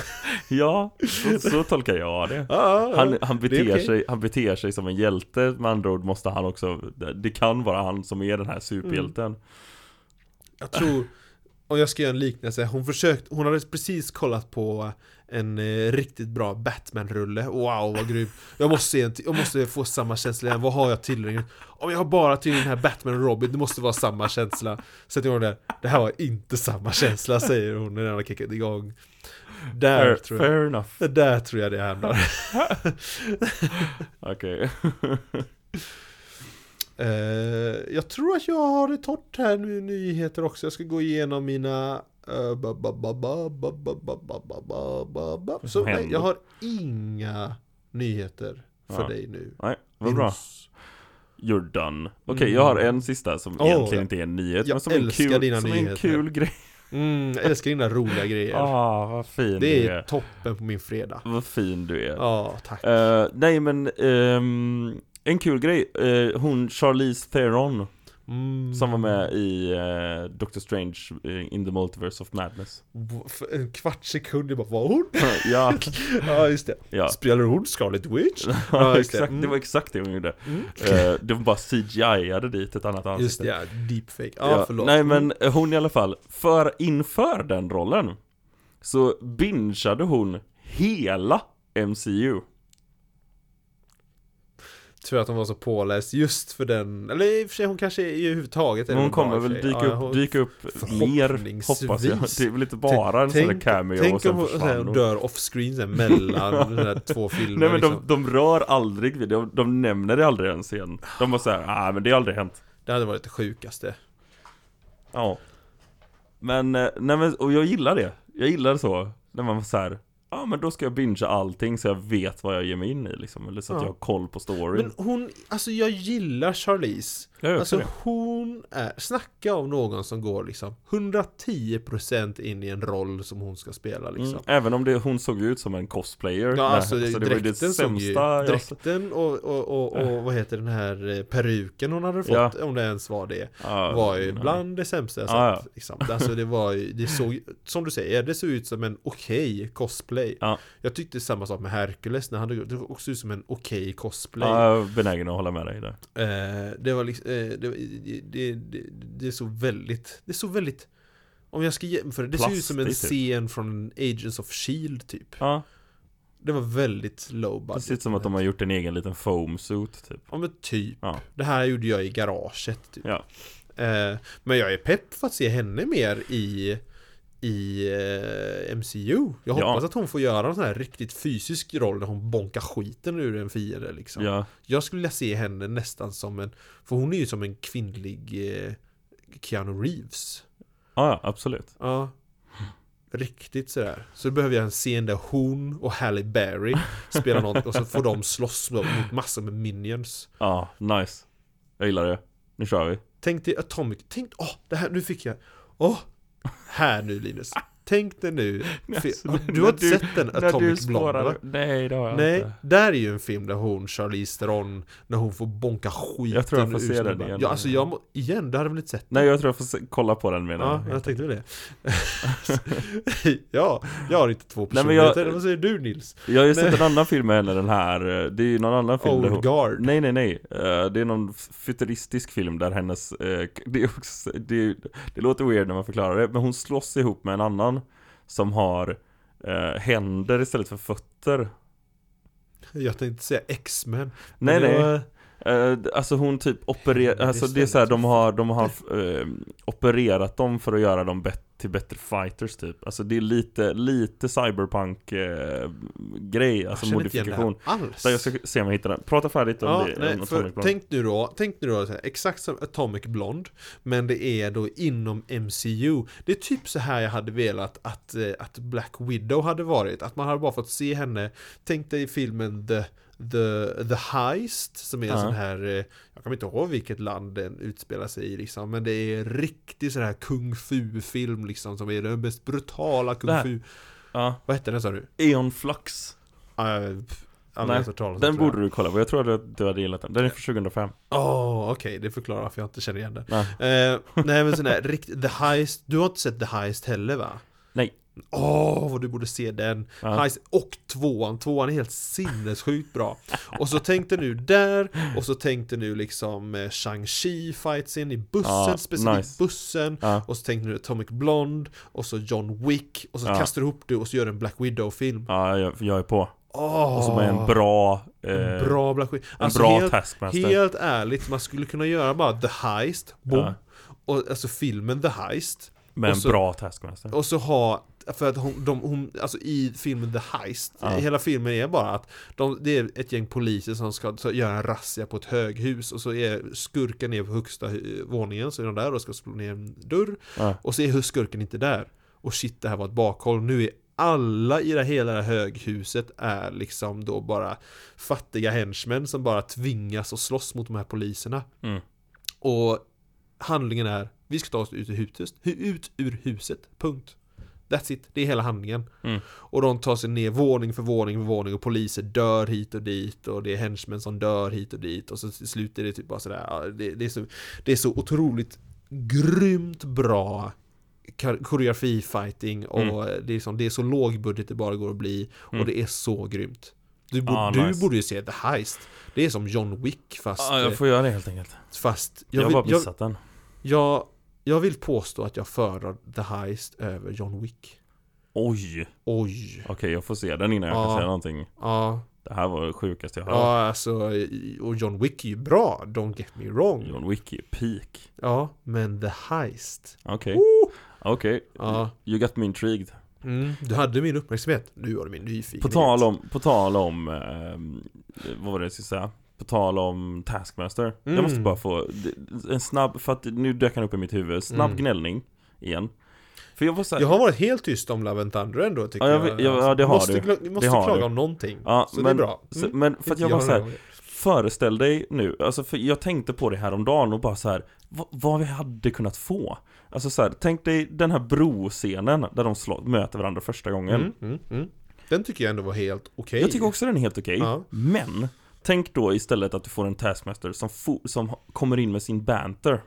[SPEAKER 1] Ja, så, så tolkar jag det
[SPEAKER 2] Ja, ja.
[SPEAKER 1] han, han,
[SPEAKER 2] det är
[SPEAKER 1] beter
[SPEAKER 2] okej.
[SPEAKER 1] sig, han beter sig som en hjälte, med andra ord måste han också Det kan vara han som är den här superhjälten
[SPEAKER 2] Mm. Jag tror, om jag ska göra en liknelse, hon försökt, hon hade precis kollat på en eh, riktigt bra Batman-rulle, wow vad grym Jag måste, se en till- jag måste få samma känsla igen, vad har jag tillräckligt? Om jag har bara till den här Batman och Robin, det måste vara samma känsla Sätter hon där, det här var inte samma känsla säger hon när den har kickat igång Där
[SPEAKER 1] Fair,
[SPEAKER 2] tror jag
[SPEAKER 1] fair enough,
[SPEAKER 2] det där tror jag det hamnar.
[SPEAKER 1] okej
[SPEAKER 2] Eh, jag tror att jag har det torrt här nu i nyheter också. Jag ska gå igenom mina... eh, ba, ba, ba, ba, ba, ba, ba, ba, ba, ba, ba, ba. Så
[SPEAKER 1] som
[SPEAKER 2] nej,
[SPEAKER 1] händer?
[SPEAKER 2] jag har inga nyheter för
[SPEAKER 1] Ja.
[SPEAKER 2] dig nu.
[SPEAKER 1] Nej, vad bra
[SPEAKER 2] Minns.
[SPEAKER 1] You're done. Okej,
[SPEAKER 2] Mm.
[SPEAKER 1] jag har en sista som
[SPEAKER 2] Åh,
[SPEAKER 1] egentligen inte är en nyhet,
[SPEAKER 2] jag
[SPEAKER 1] men som är en
[SPEAKER 2] älskar
[SPEAKER 1] kul,
[SPEAKER 2] dina
[SPEAKER 1] som är en
[SPEAKER 2] nyheter.
[SPEAKER 1] kul grej.
[SPEAKER 2] Mm, jag älskar dina roliga grejer.
[SPEAKER 1] Ah, vad fin
[SPEAKER 2] det
[SPEAKER 1] du
[SPEAKER 2] är
[SPEAKER 1] är.
[SPEAKER 2] toppen på min fredag.
[SPEAKER 1] Vad fin du är.
[SPEAKER 2] Ja, tack.
[SPEAKER 1] Eh, nej men, ehm, en kul grej. Eh, hon Eh, Charlize Theron,
[SPEAKER 2] Mm.
[SPEAKER 1] Som var med i eh, Doctor Strange eh, in the Multiverse of Madness
[SPEAKER 2] För En kvart sekund, jag bara var hon?
[SPEAKER 1] Ja,
[SPEAKER 2] Ja just det.
[SPEAKER 1] ja
[SPEAKER 2] Spelar hon Scarlet Witch? Ja, just det.
[SPEAKER 1] exakt, det
[SPEAKER 2] Mm.
[SPEAKER 1] var exakt det hon gjorde
[SPEAKER 2] Mm.
[SPEAKER 1] Eh, Det var bara CGI-ade dit ett annat ansikte
[SPEAKER 2] Just det, ja, deepfake. Ja,
[SPEAKER 1] Ja,
[SPEAKER 2] förlåt. Mm.
[SPEAKER 1] Nej men eh, hon i alla fall, för inför den rollen Så bingeade hon hela MCU
[SPEAKER 2] Tror att hon var så påläst just för den, eller i och för sig hon kanske är i överhuvudtaget är
[SPEAKER 1] Men hon
[SPEAKER 2] väl bra
[SPEAKER 1] kommer
[SPEAKER 2] i och
[SPEAKER 1] väl
[SPEAKER 2] för sig.
[SPEAKER 1] dyka
[SPEAKER 2] Ja,
[SPEAKER 1] upp,
[SPEAKER 2] hon-
[SPEAKER 1] dyka upp mer
[SPEAKER 2] förhoppningsvis.
[SPEAKER 1] hoppas jag Det är väl inte bara en sån där
[SPEAKER 2] Tänk-
[SPEAKER 1] cameo och
[SPEAKER 2] Tänk om
[SPEAKER 1] sen
[SPEAKER 2] hon så här,
[SPEAKER 1] försvann hon
[SPEAKER 2] dör off-screen så här, mellan de här två filmerna
[SPEAKER 1] Nej men
[SPEAKER 2] liksom.
[SPEAKER 1] de, de rör aldrig vid det, de, de nämner det aldrig ens igen De bara såhär, ah men det har aldrig hänt
[SPEAKER 2] Det hade varit det sjukaste.
[SPEAKER 1] Ja Men, eh, nej men, och jag gillar det Jag gillar det så, när man så här. Ja ah, men då ska jag bingea allting så jag vet vad jag ger mig in i liksom Eller så att
[SPEAKER 2] Ja.
[SPEAKER 1] jag har koll på storyn
[SPEAKER 2] Men hon, alltså jag gillar Charlize.
[SPEAKER 1] Jag gör också
[SPEAKER 2] Alltså hon är, snacka om någon som går liksom 110% in i en roll som hon ska spela
[SPEAKER 1] Mm,
[SPEAKER 2] liksom.
[SPEAKER 1] Även om det, hon såg ju ut som en cosplayer
[SPEAKER 2] Ja,
[SPEAKER 1] Nej,
[SPEAKER 2] alltså,
[SPEAKER 1] så det var ju det
[SPEAKER 2] dräkten såg ju,
[SPEAKER 1] sämsta jag sett. Äh.
[SPEAKER 2] dräkten och, och, och, och vad heter den här eh, peruken hon hade
[SPEAKER 1] Ja.
[SPEAKER 2] fått, om det ens var det,
[SPEAKER 1] Ja,
[SPEAKER 2] var ju
[SPEAKER 1] nej.
[SPEAKER 2] bland det sämsta jag
[SPEAKER 1] Ja,
[SPEAKER 2] sett. Liksom. Alltså det var ju, det såg, som du säger, det såg ut som en okej cosplay.
[SPEAKER 1] Ja.
[SPEAKER 2] Jag tyckte samma sak med Hercules när han dog, det såg också ut som en okej cosplay.
[SPEAKER 1] Ja, jag är benägen att hålla med dig där
[SPEAKER 2] Eh, det var liksom, eh, det, var- det, det, det såg väldigt, det såg väldigt om jag ska jämföra, det ser ut som en
[SPEAKER 1] Plastigt, typ.
[SPEAKER 2] scen från Agents of Shield typ.
[SPEAKER 1] Ja,
[SPEAKER 2] Det var väldigt low
[SPEAKER 1] det
[SPEAKER 2] budget.
[SPEAKER 1] ser ut som att de har gjort en egen liten foam suit typ
[SPEAKER 2] Ja men typ.
[SPEAKER 1] Ja.
[SPEAKER 2] Det här gjorde jag i garaget typ.
[SPEAKER 1] Ja.
[SPEAKER 2] Eh, men jag är pepp för att se henne mer i i eh, MCU. Jag
[SPEAKER 1] Ja.
[SPEAKER 2] hoppas att hon får göra en sån här riktigt fysisk roll där hon bonkar skiten ur en fiende liksom.
[SPEAKER 1] Ja,
[SPEAKER 2] Jag skulle vilja se henne nästan som en, för hon är ju som en kvinnlig eh, Keanu Reeves.
[SPEAKER 1] ja ja, absolut
[SPEAKER 2] Ja. Riktigt sådär. Så behöver jag en scen där hon och Halle Berry spelar något och så får de slåss mot massor med minions.
[SPEAKER 1] Ja, nice Jag gillar det, nu kör vi
[SPEAKER 2] Tänk dig Atomic, tänk, åh, det här, nu fick jag, åh, här nu Linus. Tänk dig nu, fi-
[SPEAKER 1] Alltså,
[SPEAKER 2] har-
[SPEAKER 1] när-
[SPEAKER 2] du har
[SPEAKER 1] när
[SPEAKER 2] inte sett den Atomic Blonde va?
[SPEAKER 1] Nej det har jag
[SPEAKER 2] Nej,
[SPEAKER 1] inte
[SPEAKER 2] där är ju en film där hon, Charlize Theron, när hon får bonka skiten
[SPEAKER 1] Jag tror jag får
[SPEAKER 2] ur
[SPEAKER 1] se
[SPEAKER 2] snubbar.
[SPEAKER 1] den igen.
[SPEAKER 2] Ja, alltså jag, må- igen, du hade väl inte sett
[SPEAKER 1] Nej jag tror jag får se, kolla på den menar
[SPEAKER 2] Ja,
[SPEAKER 1] jag.
[SPEAKER 2] jag tänkte väl det. ja, jag har inte två
[SPEAKER 1] Nej, men jag-
[SPEAKER 2] personligheter, vad säger du Nils?
[SPEAKER 1] Jag har ju sett en annan film med henne, den här, eh, det är ju någon annan film där
[SPEAKER 2] Old
[SPEAKER 1] hon...
[SPEAKER 2] Guard.
[SPEAKER 1] Nej nej nej, Eh, det är någon f- futuristisk film där hennes, eh, k- det, är också, det, är- det låter weird när man förklarar det, men hon slåss ihop med en annan som har eh, händer istället för fötter.
[SPEAKER 2] Jag tänkte säga X-Men.
[SPEAKER 1] Nej
[SPEAKER 2] Men det
[SPEAKER 1] nej,
[SPEAKER 2] var-
[SPEAKER 1] Eh, d- alltså hon typ opererar,
[SPEAKER 2] Händer
[SPEAKER 1] alltså det är
[SPEAKER 2] istället
[SPEAKER 1] såhär
[SPEAKER 2] för
[SPEAKER 1] de har, de har eh, opererat dem för att göra dem bet- till bättre fighters typ. Alltså det är lite, lite cyberpunk eh, grej, alltså
[SPEAKER 2] jag känner inte igen det här
[SPEAKER 1] modifikation.
[SPEAKER 2] Alls.
[SPEAKER 1] Så jag ska se om jag hittar den. Prata färdigt om
[SPEAKER 2] Ja,
[SPEAKER 1] det. om
[SPEAKER 2] nej, för
[SPEAKER 1] Atomic Blonde.
[SPEAKER 2] tänk nu då, tänk nu då så här, exakt som Atomic Blonde Men det är då inom MCU Det är typ så här jag hade velat att, eh, att Black Widow hade varit Att man hade bara fått se henne Tänk dig filmen The The, The Heist som är en
[SPEAKER 1] Ja.
[SPEAKER 2] sån här eh, Jag kommer inte ihåg vilket land den utspelar sig i liksom Men det är riktigt sån här kung fu film liksom Som är den mest brutala
[SPEAKER 1] Det
[SPEAKER 2] kung
[SPEAKER 1] här-
[SPEAKER 2] fu
[SPEAKER 1] Ja.
[SPEAKER 2] Vad hette den sa du?
[SPEAKER 1] Eon Flux.
[SPEAKER 2] Uh,
[SPEAKER 1] Nej, Den borde du kolla på, jag tror att du hade gillat den. Den är från 2005.
[SPEAKER 2] Åh, okej, det förklarar varför jag inte känner igen den.
[SPEAKER 1] Nej.
[SPEAKER 2] Eh, nej men sån där, rikt- The Heist, du har inte sett The Heist heller va?
[SPEAKER 1] Nej.
[SPEAKER 2] Åh, vad du borde se den!
[SPEAKER 1] Ja.
[SPEAKER 2] Heist och tvåan, tvåan är helt sinnessjukt bra. Och så tänkte nu där, och så tänkte nu liksom eh, Shang-Chi fightsen i bussen,
[SPEAKER 1] Ja,
[SPEAKER 2] specifikt
[SPEAKER 1] nice.
[SPEAKER 2] bussen.
[SPEAKER 1] Ja.
[SPEAKER 2] Och så tänkte nu Atomic Blonde, och så John Wick, och så
[SPEAKER 1] Ja.
[SPEAKER 2] kastar du ihop det och så gör du en Black Widow-film.
[SPEAKER 1] Ja, jag, jag är på.
[SPEAKER 2] Åh!
[SPEAKER 1] Och så med en bra... Eh,
[SPEAKER 2] Ah. En bra Black Widow.
[SPEAKER 1] en
[SPEAKER 2] Alltså,
[SPEAKER 1] bra
[SPEAKER 2] helt-
[SPEAKER 1] taskmaster.
[SPEAKER 2] Helt ärligt, man skulle kunna göra bara The Heist, boom.
[SPEAKER 1] Ja.
[SPEAKER 2] Och, alltså filmen The Heist.
[SPEAKER 1] med en
[SPEAKER 2] och så-
[SPEAKER 1] bra taskmaster.
[SPEAKER 2] Och så ha, för att hon, de, hon alltså i filmen The Heist,
[SPEAKER 1] Ja.
[SPEAKER 2] hela filmen är bara att de, det är ett gäng poliser som ska ta- göra en razzia på ett höghus och så är skurken ner på högsta hu- våningen, så är de där och ska slå ner en dörr.
[SPEAKER 1] Ja.
[SPEAKER 2] Och så är skurken inte där. Och shit, det här var ett bakhåll. Nu är alla i det hela det här höghuset är liksom då bara fattiga henchmen som bara tvingas att slåss mot de här poliserna.
[SPEAKER 1] Mm.
[SPEAKER 2] Och handlingen är, vi ska ta oss ut ur huset. Ut ur huset, punkt. That's it, det är hela handlingen.
[SPEAKER 1] Mm.
[SPEAKER 2] Och de tar sig ner våning för våning för våning och poliser dör hit och dit och det är henchmen som dör hit och dit och så till slut är det typ bara sådär, ja, det, det, är så, det är så otroligt grymt bra kar- koreografi, fighting och
[SPEAKER 1] Mm.
[SPEAKER 2] det, är som, det är så lågbudget det bara går att bli och det är så grymt. Du, bo-
[SPEAKER 1] Ah,
[SPEAKER 2] du
[SPEAKER 1] nice.
[SPEAKER 2] borde ju se The Heist. Det är som John Wick fast...
[SPEAKER 1] Ja,
[SPEAKER 2] eh,
[SPEAKER 1] jag får göra det helt enkelt.
[SPEAKER 2] fast
[SPEAKER 1] Jag, har
[SPEAKER 2] vill-
[SPEAKER 1] bara missat den.
[SPEAKER 2] jag, jag vill påstå att jag föredrar The Heist över John Wick.
[SPEAKER 1] Oj!
[SPEAKER 2] Oj.
[SPEAKER 1] Okej, jag får se den innan jag
[SPEAKER 2] Ja.
[SPEAKER 1] kan säga någonting.
[SPEAKER 2] Ja,
[SPEAKER 1] Det här var det sjukaste jag hört.
[SPEAKER 2] ja alltså, i- och John Wick är ju bra, don't get me wrong.
[SPEAKER 1] John Wick är peak.
[SPEAKER 2] Ja, men The Heist.
[SPEAKER 1] Okej. Okej.
[SPEAKER 2] Ja.
[SPEAKER 1] You got me intrigued.
[SPEAKER 2] Mm, du hade min uppmärksamhet, nu har du min nyfikenhet.
[SPEAKER 1] På tal om, på tal om, ehm, vad var det jag skulle säga? På tal om Taskmaster. Jag
[SPEAKER 2] Mm.
[SPEAKER 1] måste bara få, en snabb, för att nu dök han upp i mitt huvud. Snabb
[SPEAKER 2] Mm.
[SPEAKER 1] gnällning. Igen. För jag var såhär,
[SPEAKER 2] Jag har varit helt tyst om Love and Thunder ändå tycker
[SPEAKER 1] Ja, jag
[SPEAKER 2] jag.
[SPEAKER 1] vet- ja, ja, det har
[SPEAKER 2] måste,
[SPEAKER 1] du.
[SPEAKER 2] kla- Vi måste
[SPEAKER 1] Det har
[SPEAKER 2] klaga
[SPEAKER 1] du.
[SPEAKER 2] om någonting.
[SPEAKER 1] Ja,
[SPEAKER 2] så
[SPEAKER 1] men-
[SPEAKER 2] det är bra. Mm,
[SPEAKER 1] så- men för att jag var
[SPEAKER 2] Inte
[SPEAKER 1] såhär,
[SPEAKER 2] några gånger.
[SPEAKER 1] Föreställ dig nu, alltså för jag tänkte på det här om dagen och bara så här, vad, vad vi hade kunnat få. Alltså så här, tänk dig den här broscenen där de slå, möter varandra första gången.
[SPEAKER 2] Mm, mm, mm. Den tycker jag ändå var helt okej.
[SPEAKER 1] Jag tycker också den är helt okej,
[SPEAKER 2] Ja.
[SPEAKER 1] men tänk då istället att du får en Taskmaster som, fo- som ha- kommer in med sin banter.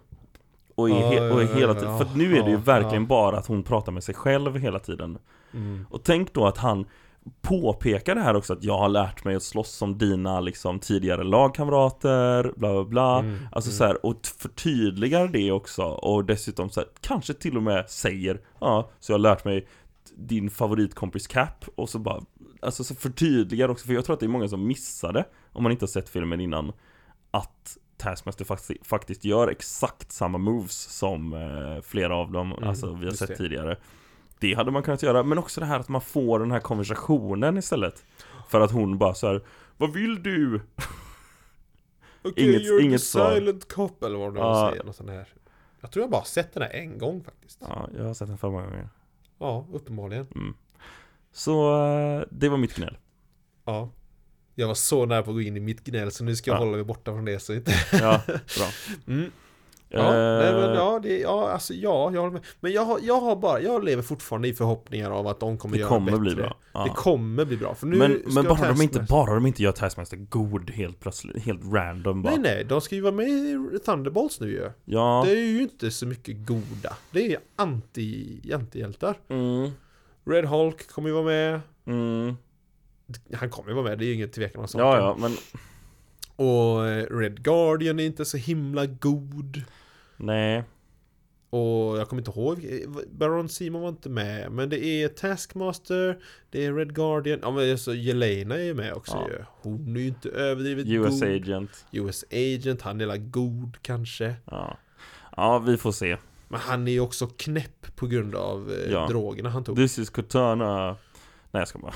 [SPEAKER 1] Och är,
[SPEAKER 2] Ja,
[SPEAKER 1] he- och är
[SPEAKER 2] ja,
[SPEAKER 1] hela
[SPEAKER 2] ja,
[SPEAKER 1] tiden,
[SPEAKER 2] ja,
[SPEAKER 1] för att nu är det ju
[SPEAKER 2] ja,
[SPEAKER 1] verkligen
[SPEAKER 2] ja.
[SPEAKER 1] bara att hon pratar med sig själv hela tiden.
[SPEAKER 2] Mm.
[SPEAKER 1] Och tänk då att han påpekar det här också att jag har lärt mig att slåss som dina liksom tidigare lagkamrater, bla bla bla.
[SPEAKER 2] Mm,
[SPEAKER 1] Alltså så här, och t- förtydligar det också och dessutom så här, kanske till och med säger ja, så jag har lärt mig din favoritkompis Cap och så bara Alltså så förtydligar också, för jag tror att det är många som missade Om man inte har sett filmen innan Att Taskmaster faktiskt, faktiskt gör exakt samma moves som eh, flera av dem
[SPEAKER 2] Mm,
[SPEAKER 1] Alltså vi har
[SPEAKER 2] just
[SPEAKER 1] sett
[SPEAKER 2] det.
[SPEAKER 1] tidigare Det hade man kunnat göra, men också det här att man får den här konversationen istället För att hon bara så här Vad vill du?
[SPEAKER 2] Okej,
[SPEAKER 1] Inget-
[SPEAKER 2] you're
[SPEAKER 1] inget
[SPEAKER 2] the
[SPEAKER 1] svar.
[SPEAKER 2] silent cop eller vad de
[SPEAKER 1] Ja.
[SPEAKER 2] säger. Något sånt här. Jag tror jag bara sett den här en gång faktiskt.
[SPEAKER 1] Ja, jag har sett den för många gånger
[SPEAKER 2] Ja, uppenbarligen.
[SPEAKER 1] Så eh, det var mitt gnäll
[SPEAKER 2] Ja. Jag var så nära på att gå in i mitt gnäll så nu ska jag
[SPEAKER 1] Ja. Eh.
[SPEAKER 2] hålla mig borta från det så inte...
[SPEAKER 1] Ja, bra
[SPEAKER 2] Mm. Ja,
[SPEAKER 1] Eh,
[SPEAKER 2] nej, men, ja, det, ja, alltså ja, jag håller med. Men jag har, jag har bara, jag lever fortfarande i förhoppningar av att de kommer
[SPEAKER 1] Det
[SPEAKER 2] göra
[SPEAKER 1] kommer
[SPEAKER 2] bättre.
[SPEAKER 1] bli bra Ja.
[SPEAKER 2] Det kommer bli bra. För nu
[SPEAKER 1] men
[SPEAKER 2] ska
[SPEAKER 1] men bara de, inte,
[SPEAKER 2] Taskmaster-
[SPEAKER 1] bara de inte gör Taskmaster god helt plötsligt, helt random bara.
[SPEAKER 2] Nej, nej, de ska ju vara med i Thunderbolts nu ju.
[SPEAKER 1] Ja.
[SPEAKER 2] Det är ju inte så mycket goda. Det är anti, antihjältar.
[SPEAKER 1] Mm,
[SPEAKER 2] Red Hulk kommer ju vara med.
[SPEAKER 1] mm.
[SPEAKER 2] Han kommer ju vara med, det är ju ingen tvekan om saken.
[SPEAKER 1] Ja, ja, men
[SPEAKER 2] Och eh, Red Guardian är inte så himla god.
[SPEAKER 1] nej.
[SPEAKER 2] Och jag kommer inte ihåg, eh, Baron Simon var inte med. Men det är Taskmaster, det är Red Guardian, ja men så Jelena är ju med också
[SPEAKER 1] Ja.
[SPEAKER 2] ju. Hon är ju inte överdrivet
[SPEAKER 1] US
[SPEAKER 2] god.
[SPEAKER 1] Agent.
[SPEAKER 2] US Agent, han är la god kanske.
[SPEAKER 1] Ja. ja, vi får se.
[SPEAKER 2] Men han är ju också knäpp på grund av eh,
[SPEAKER 1] Ja.
[SPEAKER 2] drogerna han tog.
[SPEAKER 1] This is Cortana. Nej, jag ska bara.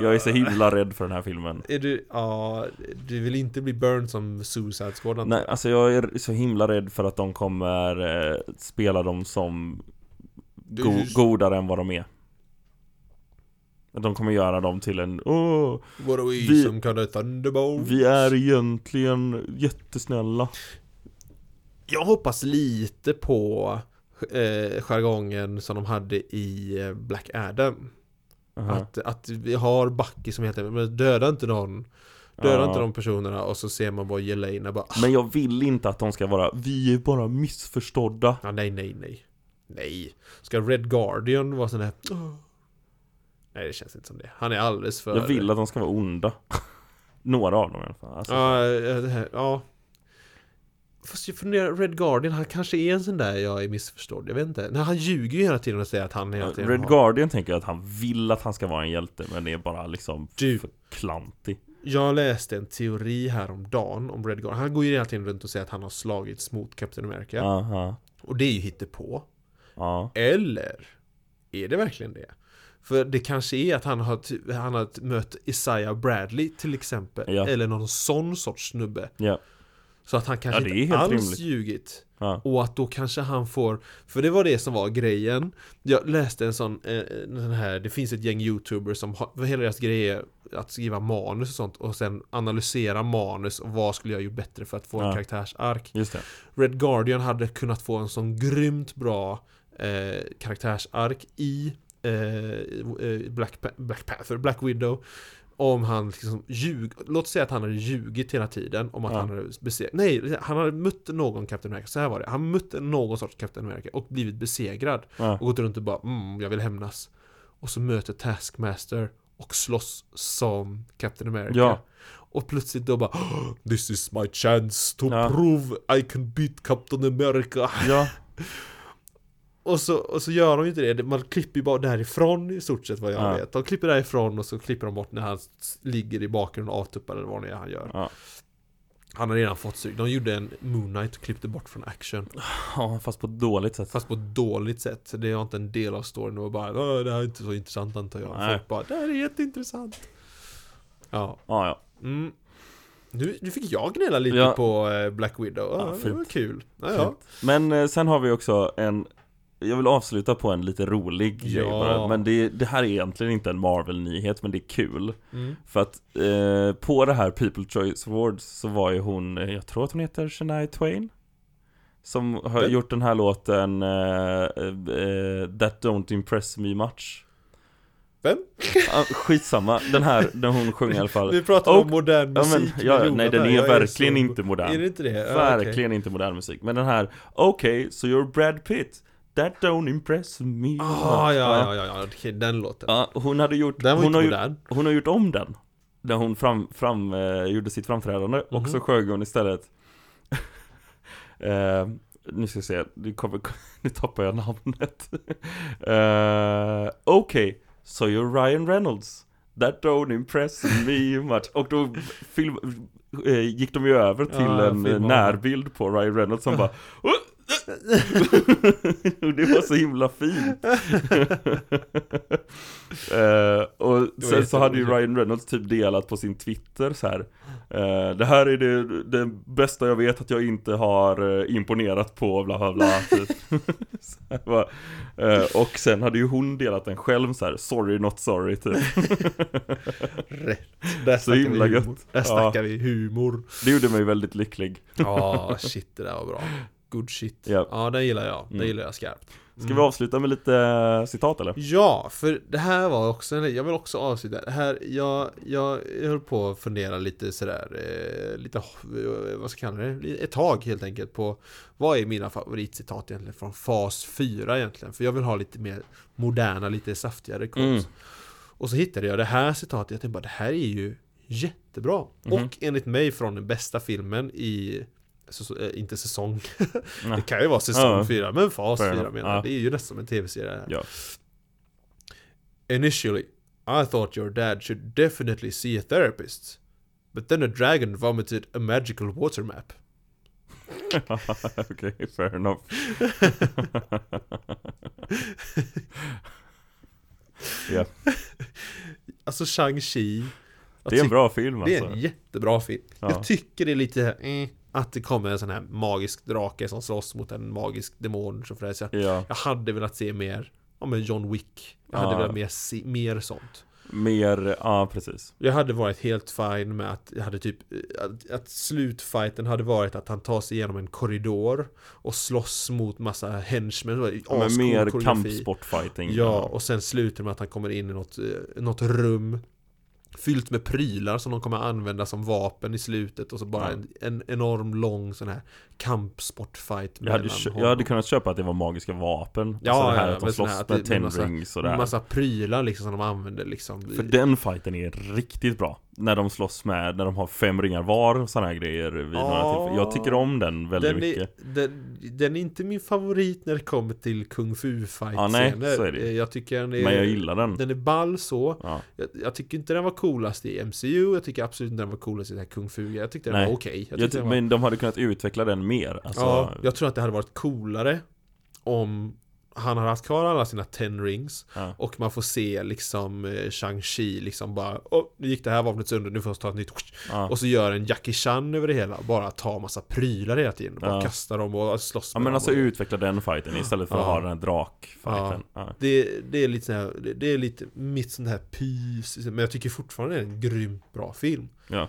[SPEAKER 1] Jag är så himla rädd för den här filmen.
[SPEAKER 2] Är du, ja, du vill inte bli burned som Suicide Squad antar
[SPEAKER 1] Nej, alltså jag är så himla rädd för att de kommer eh, spela dem som
[SPEAKER 2] Det är
[SPEAKER 1] go-
[SPEAKER 2] just-
[SPEAKER 1] godare än vad de är. Att De kommer göra dem till en åh,
[SPEAKER 2] jag. What are we
[SPEAKER 1] Vi-
[SPEAKER 2] som kallar Thunderbolt?
[SPEAKER 1] vi är egentligen jättesnälla.
[SPEAKER 2] Jag hoppas lite på eh, jargongen som de hade i eh, Black Adam.
[SPEAKER 1] Aha.
[SPEAKER 2] Att, att vi har Bucky som heter, men döda inte någon. Döda
[SPEAKER 1] Ja.
[SPEAKER 2] inte de personerna och så ser man bara Jelena bara ah,
[SPEAKER 1] Men jag vill inte att de ska vara, vi är bara missförstådda.
[SPEAKER 2] ja, nej, nej, nej. Nej. Ska Red Guardian vara sån här "Åh." Nej det känns inte som det. Han är alldeles för...
[SPEAKER 1] Jag vill att de ska vara onda. Några av dem i alla fall. Alltså,
[SPEAKER 2] Ja, eh, det här, ja. Fast jag funderar, Red Guardian, han kanske är en sån där jag är missförstådd, jag vet inte. Nej, han ljuger ju hela tiden och säger att han hela tiden
[SPEAKER 1] Red
[SPEAKER 2] har-
[SPEAKER 1] Guardian tänker jag att han vill att han ska vara en hjälte, men det är bara liksom
[SPEAKER 2] Du.
[SPEAKER 1] för klantig.
[SPEAKER 2] Jag läste en teori häromdagen om Red Guardian. Han går ju hela tiden runt och säger att han har slagits mot Captain America.
[SPEAKER 1] Aha.
[SPEAKER 2] Och det är ju hittepå.
[SPEAKER 1] Ja.
[SPEAKER 2] Eller är det verkligen det? För det kanske är att han har, ty- han har mött Isaiah Bradley till exempel.
[SPEAKER 1] Ja.
[SPEAKER 2] Eller någon sån sorts snubbe.
[SPEAKER 1] Ja.
[SPEAKER 2] Så att han kanske
[SPEAKER 1] Ja, det är
[SPEAKER 2] inte alls
[SPEAKER 1] helt rimligt.
[SPEAKER 2] ljugit.
[SPEAKER 1] Ja.
[SPEAKER 2] Och att då kanske han får, för det var det som var grejen Jag läste en sån, eh, den här, det finns ett gäng youtubers som har, för hela deras grej är att skriva manus och sånt och sen analysera manus och vad skulle jag gjort bättre för att få
[SPEAKER 1] Ja.
[SPEAKER 2] en karaktärsark
[SPEAKER 1] Just det.
[SPEAKER 2] Red Guardian hade kunnat få en sån grymt bra eh, karaktärsark i eh, eh, Black, Pa- Black Panther, Black Widow. Om han liksom ljug, låt säga att han hade ljugit hela tiden om att
[SPEAKER 1] Ja.
[SPEAKER 2] han hade besegrat, nej, han hade mött någon Captain America, så här var det. Han mötte någon sorts Captain America och blivit besegrad.
[SPEAKER 1] Ja.
[SPEAKER 2] Och gått runt och bara mm, jag vill hämnas. Och så möter Taskmaster och slåss som Captain America.
[SPEAKER 1] Ja.
[SPEAKER 2] Och plötsligt då bara "Oh, This is my chance to
[SPEAKER 1] Ja.
[SPEAKER 2] prove I can beat Captain America.
[SPEAKER 1] ja.
[SPEAKER 2] Och så, och så gör de ju inte det. Man klipper ju bara därifrån i stort sett vad jag
[SPEAKER 1] Ja.
[SPEAKER 2] vet. De klipper därifrån och så klipper de bort när han s- ligger i bakgrunden och avtuppar eller vad det är han gör.
[SPEAKER 1] Ja.
[SPEAKER 2] Han har redan fått stryk. De gjorde en Moon Knight och klippte bort från action.
[SPEAKER 1] Ja, fast på ett dåligt sätt.
[SPEAKER 2] Fast på ett dåligt sätt. Det var inte en del av storyn. Det var bara "Åh, det här är inte så intressant antar jag.
[SPEAKER 1] Nej.
[SPEAKER 2] Folk bara det här är jätteintressant. Ja.
[SPEAKER 1] Ja, ja.
[SPEAKER 2] Mm. Nu, nu fick jag gnälla lite
[SPEAKER 1] Ja.
[SPEAKER 2] på eh, Black Widow. Ja,
[SPEAKER 1] Ja,
[SPEAKER 2] det
[SPEAKER 1] fint.
[SPEAKER 2] var kul. Ja, ja.
[SPEAKER 1] Men eh, sen har vi också en jag vill avsluta på en lite rolig grej
[SPEAKER 2] Ja.
[SPEAKER 1] bara, men det, det här är egentligen inte en Marvel-nyhet, men det är kul.
[SPEAKER 2] Mm.
[SPEAKER 1] För att eh, på det här People Choice Awards så var ju hon, eh, jag tror att hon heter Shania Twain Som har
[SPEAKER 2] Den-
[SPEAKER 1] gjort den här låten eh, eh, That Don't Impress Me Much
[SPEAKER 2] Vem?
[SPEAKER 1] ah, Skitsamma, den här, den hon sjöng i alla fall
[SPEAKER 2] Vi pratar
[SPEAKER 1] Och-
[SPEAKER 2] om modern
[SPEAKER 1] Ja men,
[SPEAKER 2] musik. med
[SPEAKER 1] ja, ja,
[SPEAKER 2] Jonathan.
[SPEAKER 1] nej den är
[SPEAKER 2] Jag
[SPEAKER 1] verkligen
[SPEAKER 2] så-
[SPEAKER 1] inte modern
[SPEAKER 2] Är det inte det? Ja,
[SPEAKER 1] Verkligen inte modern musik, men den här Okej, så so you're Brad Pitt That don't impress me
[SPEAKER 2] okej.
[SPEAKER 1] much.
[SPEAKER 2] Ah, ja, ja, ja, ja, okej, den låten.
[SPEAKER 1] Ja, hon hade gjort,
[SPEAKER 2] Den var
[SPEAKER 1] hon
[SPEAKER 2] inte
[SPEAKER 1] har ju
[SPEAKER 2] modern.
[SPEAKER 1] hon har gjort om den Där hon fram, fram, eh, gjorde sitt framträdande och så sjöng hon istället eh, Nu ska jag se, nu, kommer, nu tappar jag namnet eh, Okej, so you're Ryan Reynolds That don't impress me much Och då film, eh, gick de ju över till
[SPEAKER 2] Ja,
[SPEAKER 1] en
[SPEAKER 2] filmade.
[SPEAKER 1] närbild på Ryan Reynolds som bara "Åh!" Och Det var så himla fint Eh, och sen så hade ju
[SPEAKER 2] jätteroligt.
[SPEAKER 1] Ryan Reynolds typ delat på sin Twitter så här. eh, det här är det, det bästa jag vet att jag inte har eh, imponerat på bla bla bla typ. så här, bara, eh, Och sen hade ju hon delat den själv så här, sorry not sorry typ
[SPEAKER 2] Rätt. Där
[SPEAKER 1] Så
[SPEAKER 2] snackar vi
[SPEAKER 1] himla
[SPEAKER 2] humor.
[SPEAKER 1] gött.
[SPEAKER 2] Där
[SPEAKER 1] Ja.
[SPEAKER 2] snackar vi humor.
[SPEAKER 1] Det gjorde mig väldigt lycklig
[SPEAKER 2] Ja, shit det där var bra. Good shit.
[SPEAKER 1] Ja.
[SPEAKER 2] Ja, den gillar jag. Den
[SPEAKER 1] Mm.
[SPEAKER 2] gillar jag skarpt.
[SPEAKER 1] Ska vi avsluta med lite eh, citat eller?
[SPEAKER 2] Ja, för det här var också en, jag vill också avsluta det här, jag, jag, jag höll på att fundera lite sådär, eh, lite, eh, vad ska jag kalla det, ett tag helt enkelt på vad är mina favoritcitat egentligen från fas 4 egentligen? För jag vill ha lite mer moderna, lite saftigare konst.
[SPEAKER 1] Mm.
[SPEAKER 2] Och så hittade jag det här citatet, jag tänkte bara det här är ju jättebra.
[SPEAKER 1] Mhm.
[SPEAKER 2] Och enligt mig från den bästa filmen i så, eh, inte säsong.
[SPEAKER 1] Nej.
[SPEAKER 2] det kan ju vara säsong
[SPEAKER 1] Ja.
[SPEAKER 2] 4, men fas
[SPEAKER 1] Fair
[SPEAKER 2] 4
[SPEAKER 1] enough.
[SPEAKER 2] menar jag.
[SPEAKER 1] Ja.
[SPEAKER 2] Det är ju nästan som en tv-serie det här.
[SPEAKER 1] Ja.
[SPEAKER 2] Initially, I thought your dad should definitely see a therapist. But then a dragon vomited a magical water map.
[SPEAKER 1] Okej, fair enough
[SPEAKER 2] Alltså Shang-Chi. jag
[SPEAKER 1] Det är en
[SPEAKER 2] tyck-
[SPEAKER 1] bra film
[SPEAKER 2] Det är
[SPEAKER 1] alltså
[SPEAKER 2] en jättebra film.
[SPEAKER 1] Ja.
[SPEAKER 2] Jag tycker det är lite eh, att det kommer en sån här magisk drake som slåss mot en magisk demon som fräser.
[SPEAKER 1] Ja,
[SPEAKER 2] Jag hade velat se mer, ja men John Wick. Jag hade
[SPEAKER 1] Ja.
[SPEAKER 2] velat mer, se, mer sånt.
[SPEAKER 1] mer, ja precis
[SPEAKER 2] Jag hade varit helt fine med att jag hade typ att, att slutfighten hade varit att han tar sig igenom en korridor och slåss mot massa henchmen. Det var
[SPEAKER 1] Ja, Men
[SPEAKER 2] ascool
[SPEAKER 1] mer
[SPEAKER 2] koreografi.
[SPEAKER 1] kampsportfighting
[SPEAKER 2] Ja, och sen slutar det med att han kommer in i något, eh, något rum fyllt med prylar som de kommer använda som vapen i slutet och så bara
[SPEAKER 1] Ja.
[SPEAKER 2] en, en enorm lång sån här kampsportfight
[SPEAKER 1] Jag hade,
[SPEAKER 2] mellan
[SPEAKER 1] kö- jag
[SPEAKER 2] honom.
[SPEAKER 1] hade kunnat köpa att det var magiska vapen.
[SPEAKER 2] Ja,
[SPEAKER 1] alltså det
[SPEAKER 2] ja,
[SPEAKER 1] här
[SPEAKER 2] ja,
[SPEAKER 1] att de
[SPEAKER 2] men sån här
[SPEAKER 1] slåss
[SPEAKER 2] att
[SPEAKER 1] med
[SPEAKER 2] det- med massa-
[SPEAKER 1] tendrings och det här.
[SPEAKER 2] Massa prylar liksom som de använder liksom.
[SPEAKER 1] För den fighten är riktigt bra. När de slåss med, när de har fem ringar var och sådana här grejer vid några
[SPEAKER 2] Ja.
[SPEAKER 1] tillfällen. Jag tycker om den väldigt
[SPEAKER 2] den är,
[SPEAKER 1] mycket.
[SPEAKER 2] den, den är inte min favorit när det kommer till kung fu fight
[SPEAKER 1] Ja, nej, så är det ju.
[SPEAKER 2] Jag tycker den är,
[SPEAKER 1] Men jag gillar den.
[SPEAKER 2] den är ball så.
[SPEAKER 1] Ja.
[SPEAKER 2] Jag, jag tycker inte den var coolast i MCU, jag tycker absolut inte den var coolast i den här kung fu. Jag tyckte den
[SPEAKER 1] Nej.
[SPEAKER 2] var okej. Jag
[SPEAKER 1] Jag
[SPEAKER 2] tyckte
[SPEAKER 1] ty-
[SPEAKER 2] den var-
[SPEAKER 1] Men de hade kunnat utveckla den mer. Alltså,
[SPEAKER 2] Ja, jag tror att det hade varit coolare om han hade haft kvar alla sina ten rings
[SPEAKER 1] Ja.
[SPEAKER 2] och man får se liksom eh, Shang-Chi liksom bara Åh, nu gick det här vapnet sönder, nu får jag ta ett nytt
[SPEAKER 1] ja.
[SPEAKER 2] Och så gör en Jackie Chan över det hela, bara tar massa prylar hela tiden, bara
[SPEAKER 1] Ja.
[SPEAKER 2] kastar dem och slåss
[SPEAKER 1] ja
[SPEAKER 2] med
[SPEAKER 1] men
[SPEAKER 2] dem
[SPEAKER 1] alltså
[SPEAKER 2] och-
[SPEAKER 1] utveckla den fighten istället för att
[SPEAKER 2] Ja.
[SPEAKER 1] ha den här drakfighten. Ja.
[SPEAKER 2] det, det är lite så här, det, det är lite mitt sån här pys, men jag tycker fortfarande det är en grymt bra film
[SPEAKER 1] Ja.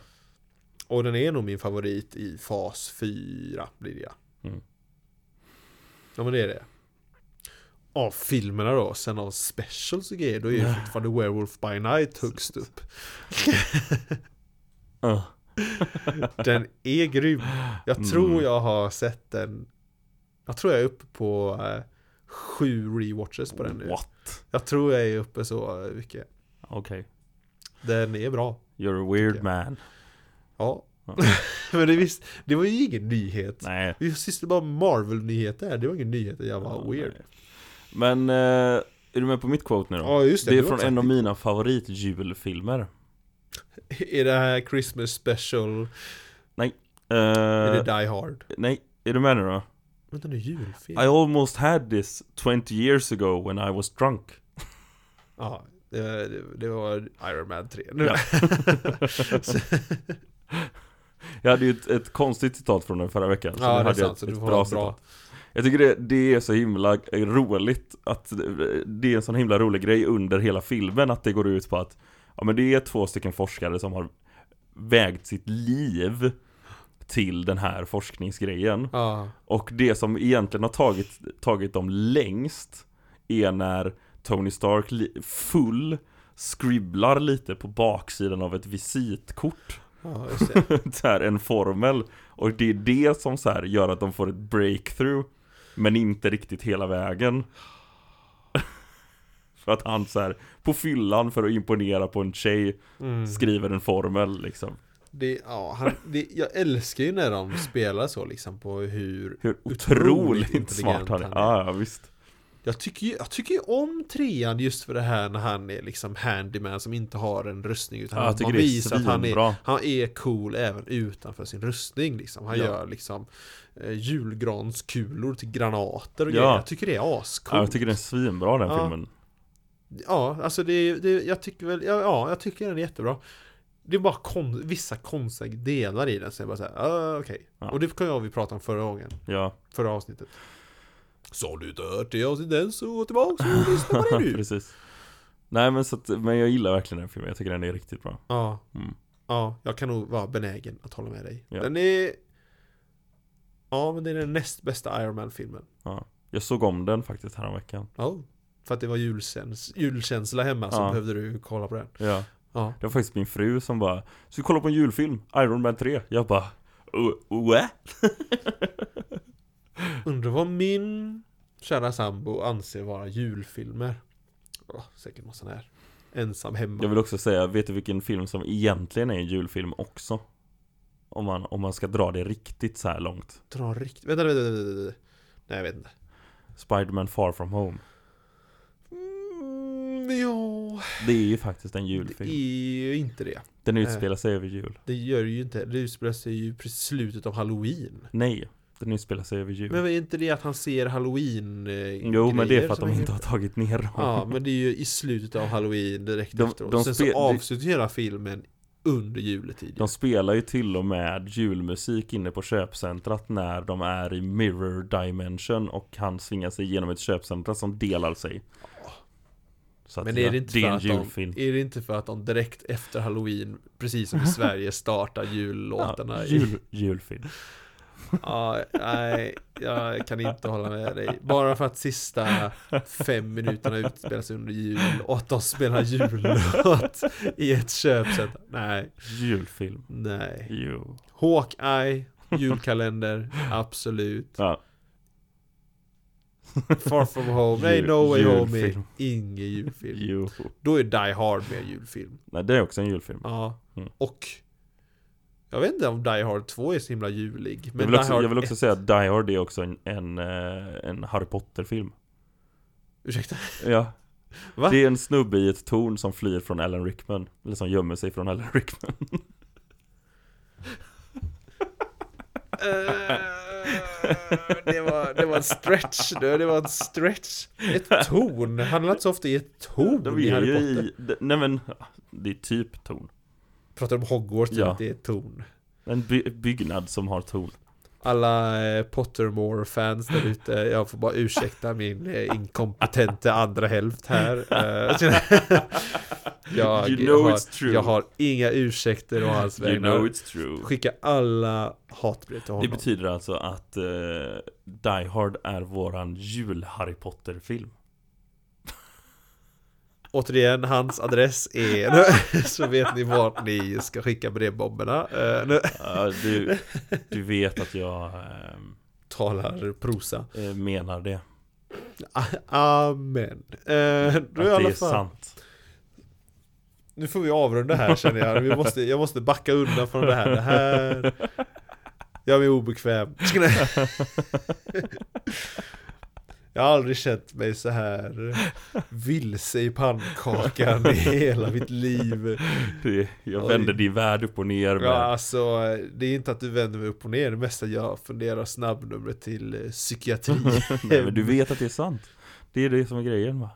[SPEAKER 2] Och den är nog min favorit i fas 4 blir det ja.
[SPEAKER 1] Mm.
[SPEAKER 2] Ja men det är det av filmerna då, sen av specials och grejer, då är ju fortfarande Werewolf by Night högst upp.
[SPEAKER 1] Ja. Uh.
[SPEAKER 2] Den är grym.
[SPEAKER 1] Mm.
[SPEAKER 2] Jag tror jag har sett den, jag tror jag är uppe på eh, sju rewatches på den nu.
[SPEAKER 1] What?
[SPEAKER 2] Jag tror jag är uppe så eh, mycket.
[SPEAKER 1] Okej.
[SPEAKER 2] Den är bra.
[SPEAKER 1] You're a weird man.
[SPEAKER 2] Ja.
[SPEAKER 1] Ja.
[SPEAKER 2] Men det, visst, det var ju ingen nyhet.
[SPEAKER 1] Nej.
[SPEAKER 2] Vi sysslar bara med Marvel-nyheter här, det var ingen nyhet, jag var
[SPEAKER 1] Ja,
[SPEAKER 2] weird.
[SPEAKER 1] nej. Men, eh, är du med på mitt quote nu då?
[SPEAKER 2] Ja just det,
[SPEAKER 1] det är
[SPEAKER 2] du har
[SPEAKER 1] från
[SPEAKER 2] sagt
[SPEAKER 1] en av
[SPEAKER 2] det.
[SPEAKER 1] mina favoritjulfilmer.
[SPEAKER 2] Är det här Christmas special?
[SPEAKER 1] Eh,
[SPEAKER 2] är det Die Hard?
[SPEAKER 1] nej, är du med nu då?
[SPEAKER 2] Vänta nu, julfilm?
[SPEAKER 1] I almost had this 20 years ago when I was drunk.
[SPEAKER 2] Ja, det, det- det var Iron Man 3. Nu.
[SPEAKER 1] Ja. Jag hade ju ett, ett konstigt citat från den förra veckan. Så
[SPEAKER 2] Ja,
[SPEAKER 1] nu
[SPEAKER 2] det är
[SPEAKER 1] hade jag
[SPEAKER 2] sant,
[SPEAKER 1] ett,
[SPEAKER 2] så du
[SPEAKER 1] ett
[SPEAKER 2] får
[SPEAKER 1] bra,
[SPEAKER 2] ha ett bra.
[SPEAKER 1] citat. Jag tycker det, det är så himla eh, roligt att det- det är en sån himla rolig grej under hela filmen att det går ut på att ja men det är två stycken forskare som har vägt sitt liv till den här forskningsgrejen.
[SPEAKER 2] Ja.
[SPEAKER 1] Och det som egentligen har tagit, tagit dem längst är när Tony Stark li- full skribblar lite på baksidan av ett visitkort.
[SPEAKER 2] ja, just det.
[SPEAKER 1] så här, en formel. Och det är det som så här gör att de får ett breakthrough. Men inte riktigt hela vägen. för att han så här på fyllan för att imponera på en tjej
[SPEAKER 2] Mm.
[SPEAKER 1] skriver en formel liksom.
[SPEAKER 2] det, ja, han, det jag älskar ju när de spelar så liksom på hur
[SPEAKER 1] Hur
[SPEAKER 2] Otroligt
[SPEAKER 1] otroligt
[SPEAKER 2] intelligent
[SPEAKER 1] smart han är.
[SPEAKER 2] han är.
[SPEAKER 1] Ja, ja visst.
[SPEAKER 2] Jag tycker ju jag tycker ju om trean just för det här när han är liksom handyman som inte har en rustning utan
[SPEAKER 1] Ja, jag
[SPEAKER 2] han-
[SPEAKER 1] tycker
[SPEAKER 2] man
[SPEAKER 1] det är
[SPEAKER 2] visar att han är,
[SPEAKER 1] svinbra.
[SPEAKER 2] han är cool även utanför sin rustning liksom. Han
[SPEAKER 1] Ja.
[SPEAKER 2] gör liksom eh, julgranskulor till granater och
[SPEAKER 1] Ja.
[SPEAKER 2] grejer. Jag tycker det är
[SPEAKER 1] Ja, jag
[SPEAKER 2] ascoolt.
[SPEAKER 1] tycker den är svinbra den
[SPEAKER 2] Ja.
[SPEAKER 1] filmen.
[SPEAKER 2] Ja, alltså det, det jag tycker väl, ja, ja, jag tycker den är jättebra. Det är bara kon, vissa konstiga delar i den som jag bara såhär, ah, okej.
[SPEAKER 1] Ja.
[SPEAKER 2] Och det kan jag vi prata om förra gången,
[SPEAKER 1] Ja,
[SPEAKER 2] förra avsnittet. Så du inte hört det avsnittet än så gå tillbaka och lyssna på det nu.
[SPEAKER 1] precis. Nej men så att, men jag gillar verkligen den filmen. Jag tycker den är riktigt bra.
[SPEAKER 2] Ja.
[SPEAKER 1] Mm.
[SPEAKER 2] Ja, jag kan nog vara benägen att hålla med dig.
[SPEAKER 1] Ja.
[SPEAKER 2] Den är... Ja, men det är den näst bästa Iron Man-filmen.
[SPEAKER 1] Jag såg om den faktiskt häromveckan.
[SPEAKER 2] Ja. För att det var julkäns julkänsla hemma så
[SPEAKER 1] Ja.
[SPEAKER 2] behövde du kolla på den.
[SPEAKER 1] Ja.
[SPEAKER 2] Ja.
[SPEAKER 1] Det var faktiskt min fru som bara Så vi kollar på en julfilm, Iron Man 3 Jag bara äh?" What?
[SPEAKER 2] Undrar vad min kära sambo anser vara julfilmer. Åh, säkert någon sån här. Ensam hemma.
[SPEAKER 1] Jag vill också säga, vet du vilken film som egentligen är en julfilm också? Om man, om man ska dra det riktigt så här långt
[SPEAKER 2] Dra riktigt... Vänta, vänta, vänta, vänta, vänta. Nej, jag vet inte.
[SPEAKER 1] Spider-Man Far From Home
[SPEAKER 2] Mm, ja...
[SPEAKER 1] Det är ju faktiskt en
[SPEAKER 2] Det
[SPEAKER 1] julfilm
[SPEAKER 2] är ju inte det.
[SPEAKER 1] Den utspelar sig över jul
[SPEAKER 2] Det gör det ju inte. Det utspelar sig ju precis slutet av halloween.
[SPEAKER 1] Nej, den utspelar sig över jul
[SPEAKER 2] Men är inte det att han ser halloween eh,
[SPEAKER 1] Jo men det är
[SPEAKER 2] grejer
[SPEAKER 1] för att
[SPEAKER 2] som
[SPEAKER 1] de
[SPEAKER 2] hänger-
[SPEAKER 1] inte har tagit ner dem
[SPEAKER 2] Ja, men det är ju i slutet av halloween direkt
[SPEAKER 1] De-
[SPEAKER 2] efteråt.
[SPEAKER 1] de
[SPEAKER 2] Sen
[SPEAKER 1] spe-
[SPEAKER 2] så
[SPEAKER 1] det-
[SPEAKER 2] avslutar hela filmen under juletid.
[SPEAKER 1] De spelar ju till och med julmusik inne på köpcentrat när de är i Mirror Dimension och han svingar sig genom ett köpcentra som delar sig. Så att
[SPEAKER 2] Men är
[SPEAKER 1] ja,
[SPEAKER 2] det, inte
[SPEAKER 1] det är
[SPEAKER 2] för
[SPEAKER 1] en
[SPEAKER 2] att de,
[SPEAKER 1] julfilm.
[SPEAKER 2] är det inte för att de direkt efter halloween, precis som i Sverige, startar jullåtarna?
[SPEAKER 1] Ja,
[SPEAKER 2] i-
[SPEAKER 1] jul, julfilm.
[SPEAKER 2] Ja, nej, jag kan inte hålla med dig. Bara för att sista fem minuterna utspelas under jul och att de spelar jullåt i ett köpcentrum. Nej,
[SPEAKER 1] Julfilm.
[SPEAKER 2] nej.
[SPEAKER 1] Jo.
[SPEAKER 2] Hawkeye, julkalender, absolut.
[SPEAKER 1] Ja,
[SPEAKER 2] Far from home, nej
[SPEAKER 1] Jul-
[SPEAKER 2] No way home är
[SPEAKER 1] julfilm.
[SPEAKER 2] ingen julfilm.
[SPEAKER 1] jo.
[SPEAKER 2] Då är Die Hard mer julfilm.
[SPEAKER 1] Nej, det är också en julfilm.
[SPEAKER 2] Ja,
[SPEAKER 1] Mm.
[SPEAKER 2] och jag vet inte om Die Hard 2 är så himla julig. Men
[SPEAKER 1] jag, vill
[SPEAKER 2] Die
[SPEAKER 1] också,
[SPEAKER 2] Hard
[SPEAKER 1] jag vill också
[SPEAKER 2] 1
[SPEAKER 1] säga att Die Hard är också en, en, eh, en Harry Potter-film.
[SPEAKER 2] Ursäkta?
[SPEAKER 1] Ja.
[SPEAKER 2] Va?
[SPEAKER 1] Det är en snubbe i ett torn som flyr från Alan Rickman. Eller som gömmer sig från Alan Rickman.
[SPEAKER 2] Eh, det, var, det var en stretch du, det var en stretch. Ett torn, han är inte så ofta i ett torn
[SPEAKER 1] De
[SPEAKER 2] i
[SPEAKER 1] Oh, är
[SPEAKER 2] Harry
[SPEAKER 1] ju
[SPEAKER 2] Potter.
[SPEAKER 1] i, de- nej men, det är typ torn.
[SPEAKER 2] Pratar om Hogwarts,
[SPEAKER 1] Ja.
[SPEAKER 2] att det är ett torn.
[SPEAKER 1] En by, byggnad som har torn.
[SPEAKER 2] alla eh, Pottermore-fans där ute, jag får bara ursäkta min eh, inkompetenta andra hälft här. Eh, jag,
[SPEAKER 1] You know
[SPEAKER 2] har,
[SPEAKER 1] it's true.
[SPEAKER 2] jag har inga ursäkter och hans
[SPEAKER 1] You know
[SPEAKER 2] vägnar.
[SPEAKER 1] it's true.
[SPEAKER 2] Skicka alla hatbrev till
[SPEAKER 1] Det
[SPEAKER 2] honom.
[SPEAKER 1] betyder alltså att eh, Die Hard är våran jul-Harry Potter-film.
[SPEAKER 2] Återigen, hans adress är... så vet ni vart ni ska skicka brevbomberna. Eh, nu
[SPEAKER 1] Ja, du, du vet att jag ehm,
[SPEAKER 2] talar prosa.
[SPEAKER 1] eh, menar det.
[SPEAKER 2] A- Amen. Eh,
[SPEAKER 1] Att
[SPEAKER 2] då i
[SPEAKER 1] det
[SPEAKER 2] alla
[SPEAKER 1] är
[SPEAKER 2] fall.
[SPEAKER 1] sant.
[SPEAKER 2] Nu får vi avrunda här känner jag. Vi måste, jag måste backa undan från det här. Det här... Jag är obekväm. Jag har aldrig känt mig så här vilse i pannkakan i hela mitt liv.
[SPEAKER 1] Det, jag
[SPEAKER 2] Oj.
[SPEAKER 1] vänder din värld upp och ner
[SPEAKER 2] Ja,
[SPEAKER 1] med
[SPEAKER 2] alltså, det är inte att du vänder mig upp och ner. Det mesta jag funderar snabbnumret till eh, psykiatri.
[SPEAKER 1] Nej, men du vet att det är sant. Det är det som är grejen va?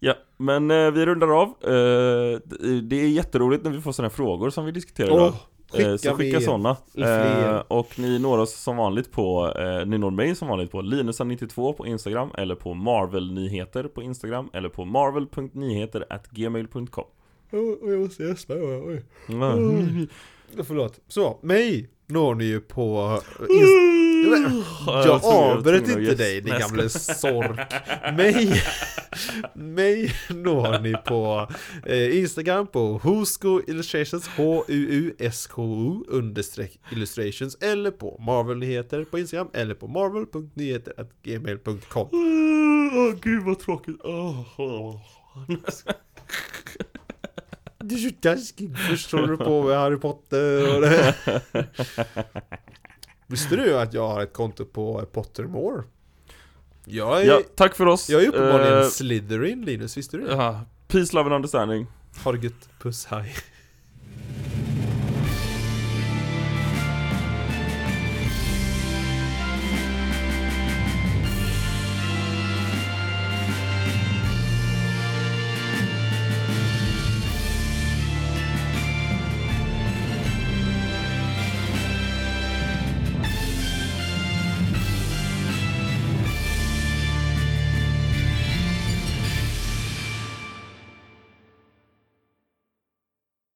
[SPEAKER 1] Ja, men eh, vi rundar av. Eh, d- det är jätteroligt när vi får sådana här frågor som vi diskuterar idag.
[SPEAKER 2] Åh,
[SPEAKER 1] Eh, så skicka
[SPEAKER 2] mer.
[SPEAKER 1] sådana.
[SPEAKER 2] fler.
[SPEAKER 1] Eh, och ni når oss som vanligt på, eh, ni når mig som vanligt på linusan92 på Instagram eller på marvelnyheter på Instagram eller på marvel.nyheter.gmail.com
[SPEAKER 2] Åh, åh, jag måste gäspa. Oj, oj.
[SPEAKER 1] Mm.
[SPEAKER 2] Ja, Förlåt. Så, mig når ni ju på... Inst- jag avbröt inte dig din gamle sork. Mig, mig når ni på eh, Instagram på Husko Illustrations, H-U-U-S-K-O understreck illustrations eller på Marvel-nyheter på Instagram eller på marvel.nyheter.gmail.com
[SPEAKER 1] Åh gud vad tråkigt. Åh, åh.
[SPEAKER 2] Du är så taskig. Först håller du på med Harry Potter och det. Visste du att jag har ett konto på Pottermore? Jag är,
[SPEAKER 1] Ja, tack för oss.
[SPEAKER 2] jag är uppenbarligen
[SPEAKER 1] Eh,
[SPEAKER 2] Slytherin Linus, visste du det?
[SPEAKER 1] ja, Peace, love and understanding.
[SPEAKER 2] Ha det gött, puss, hej.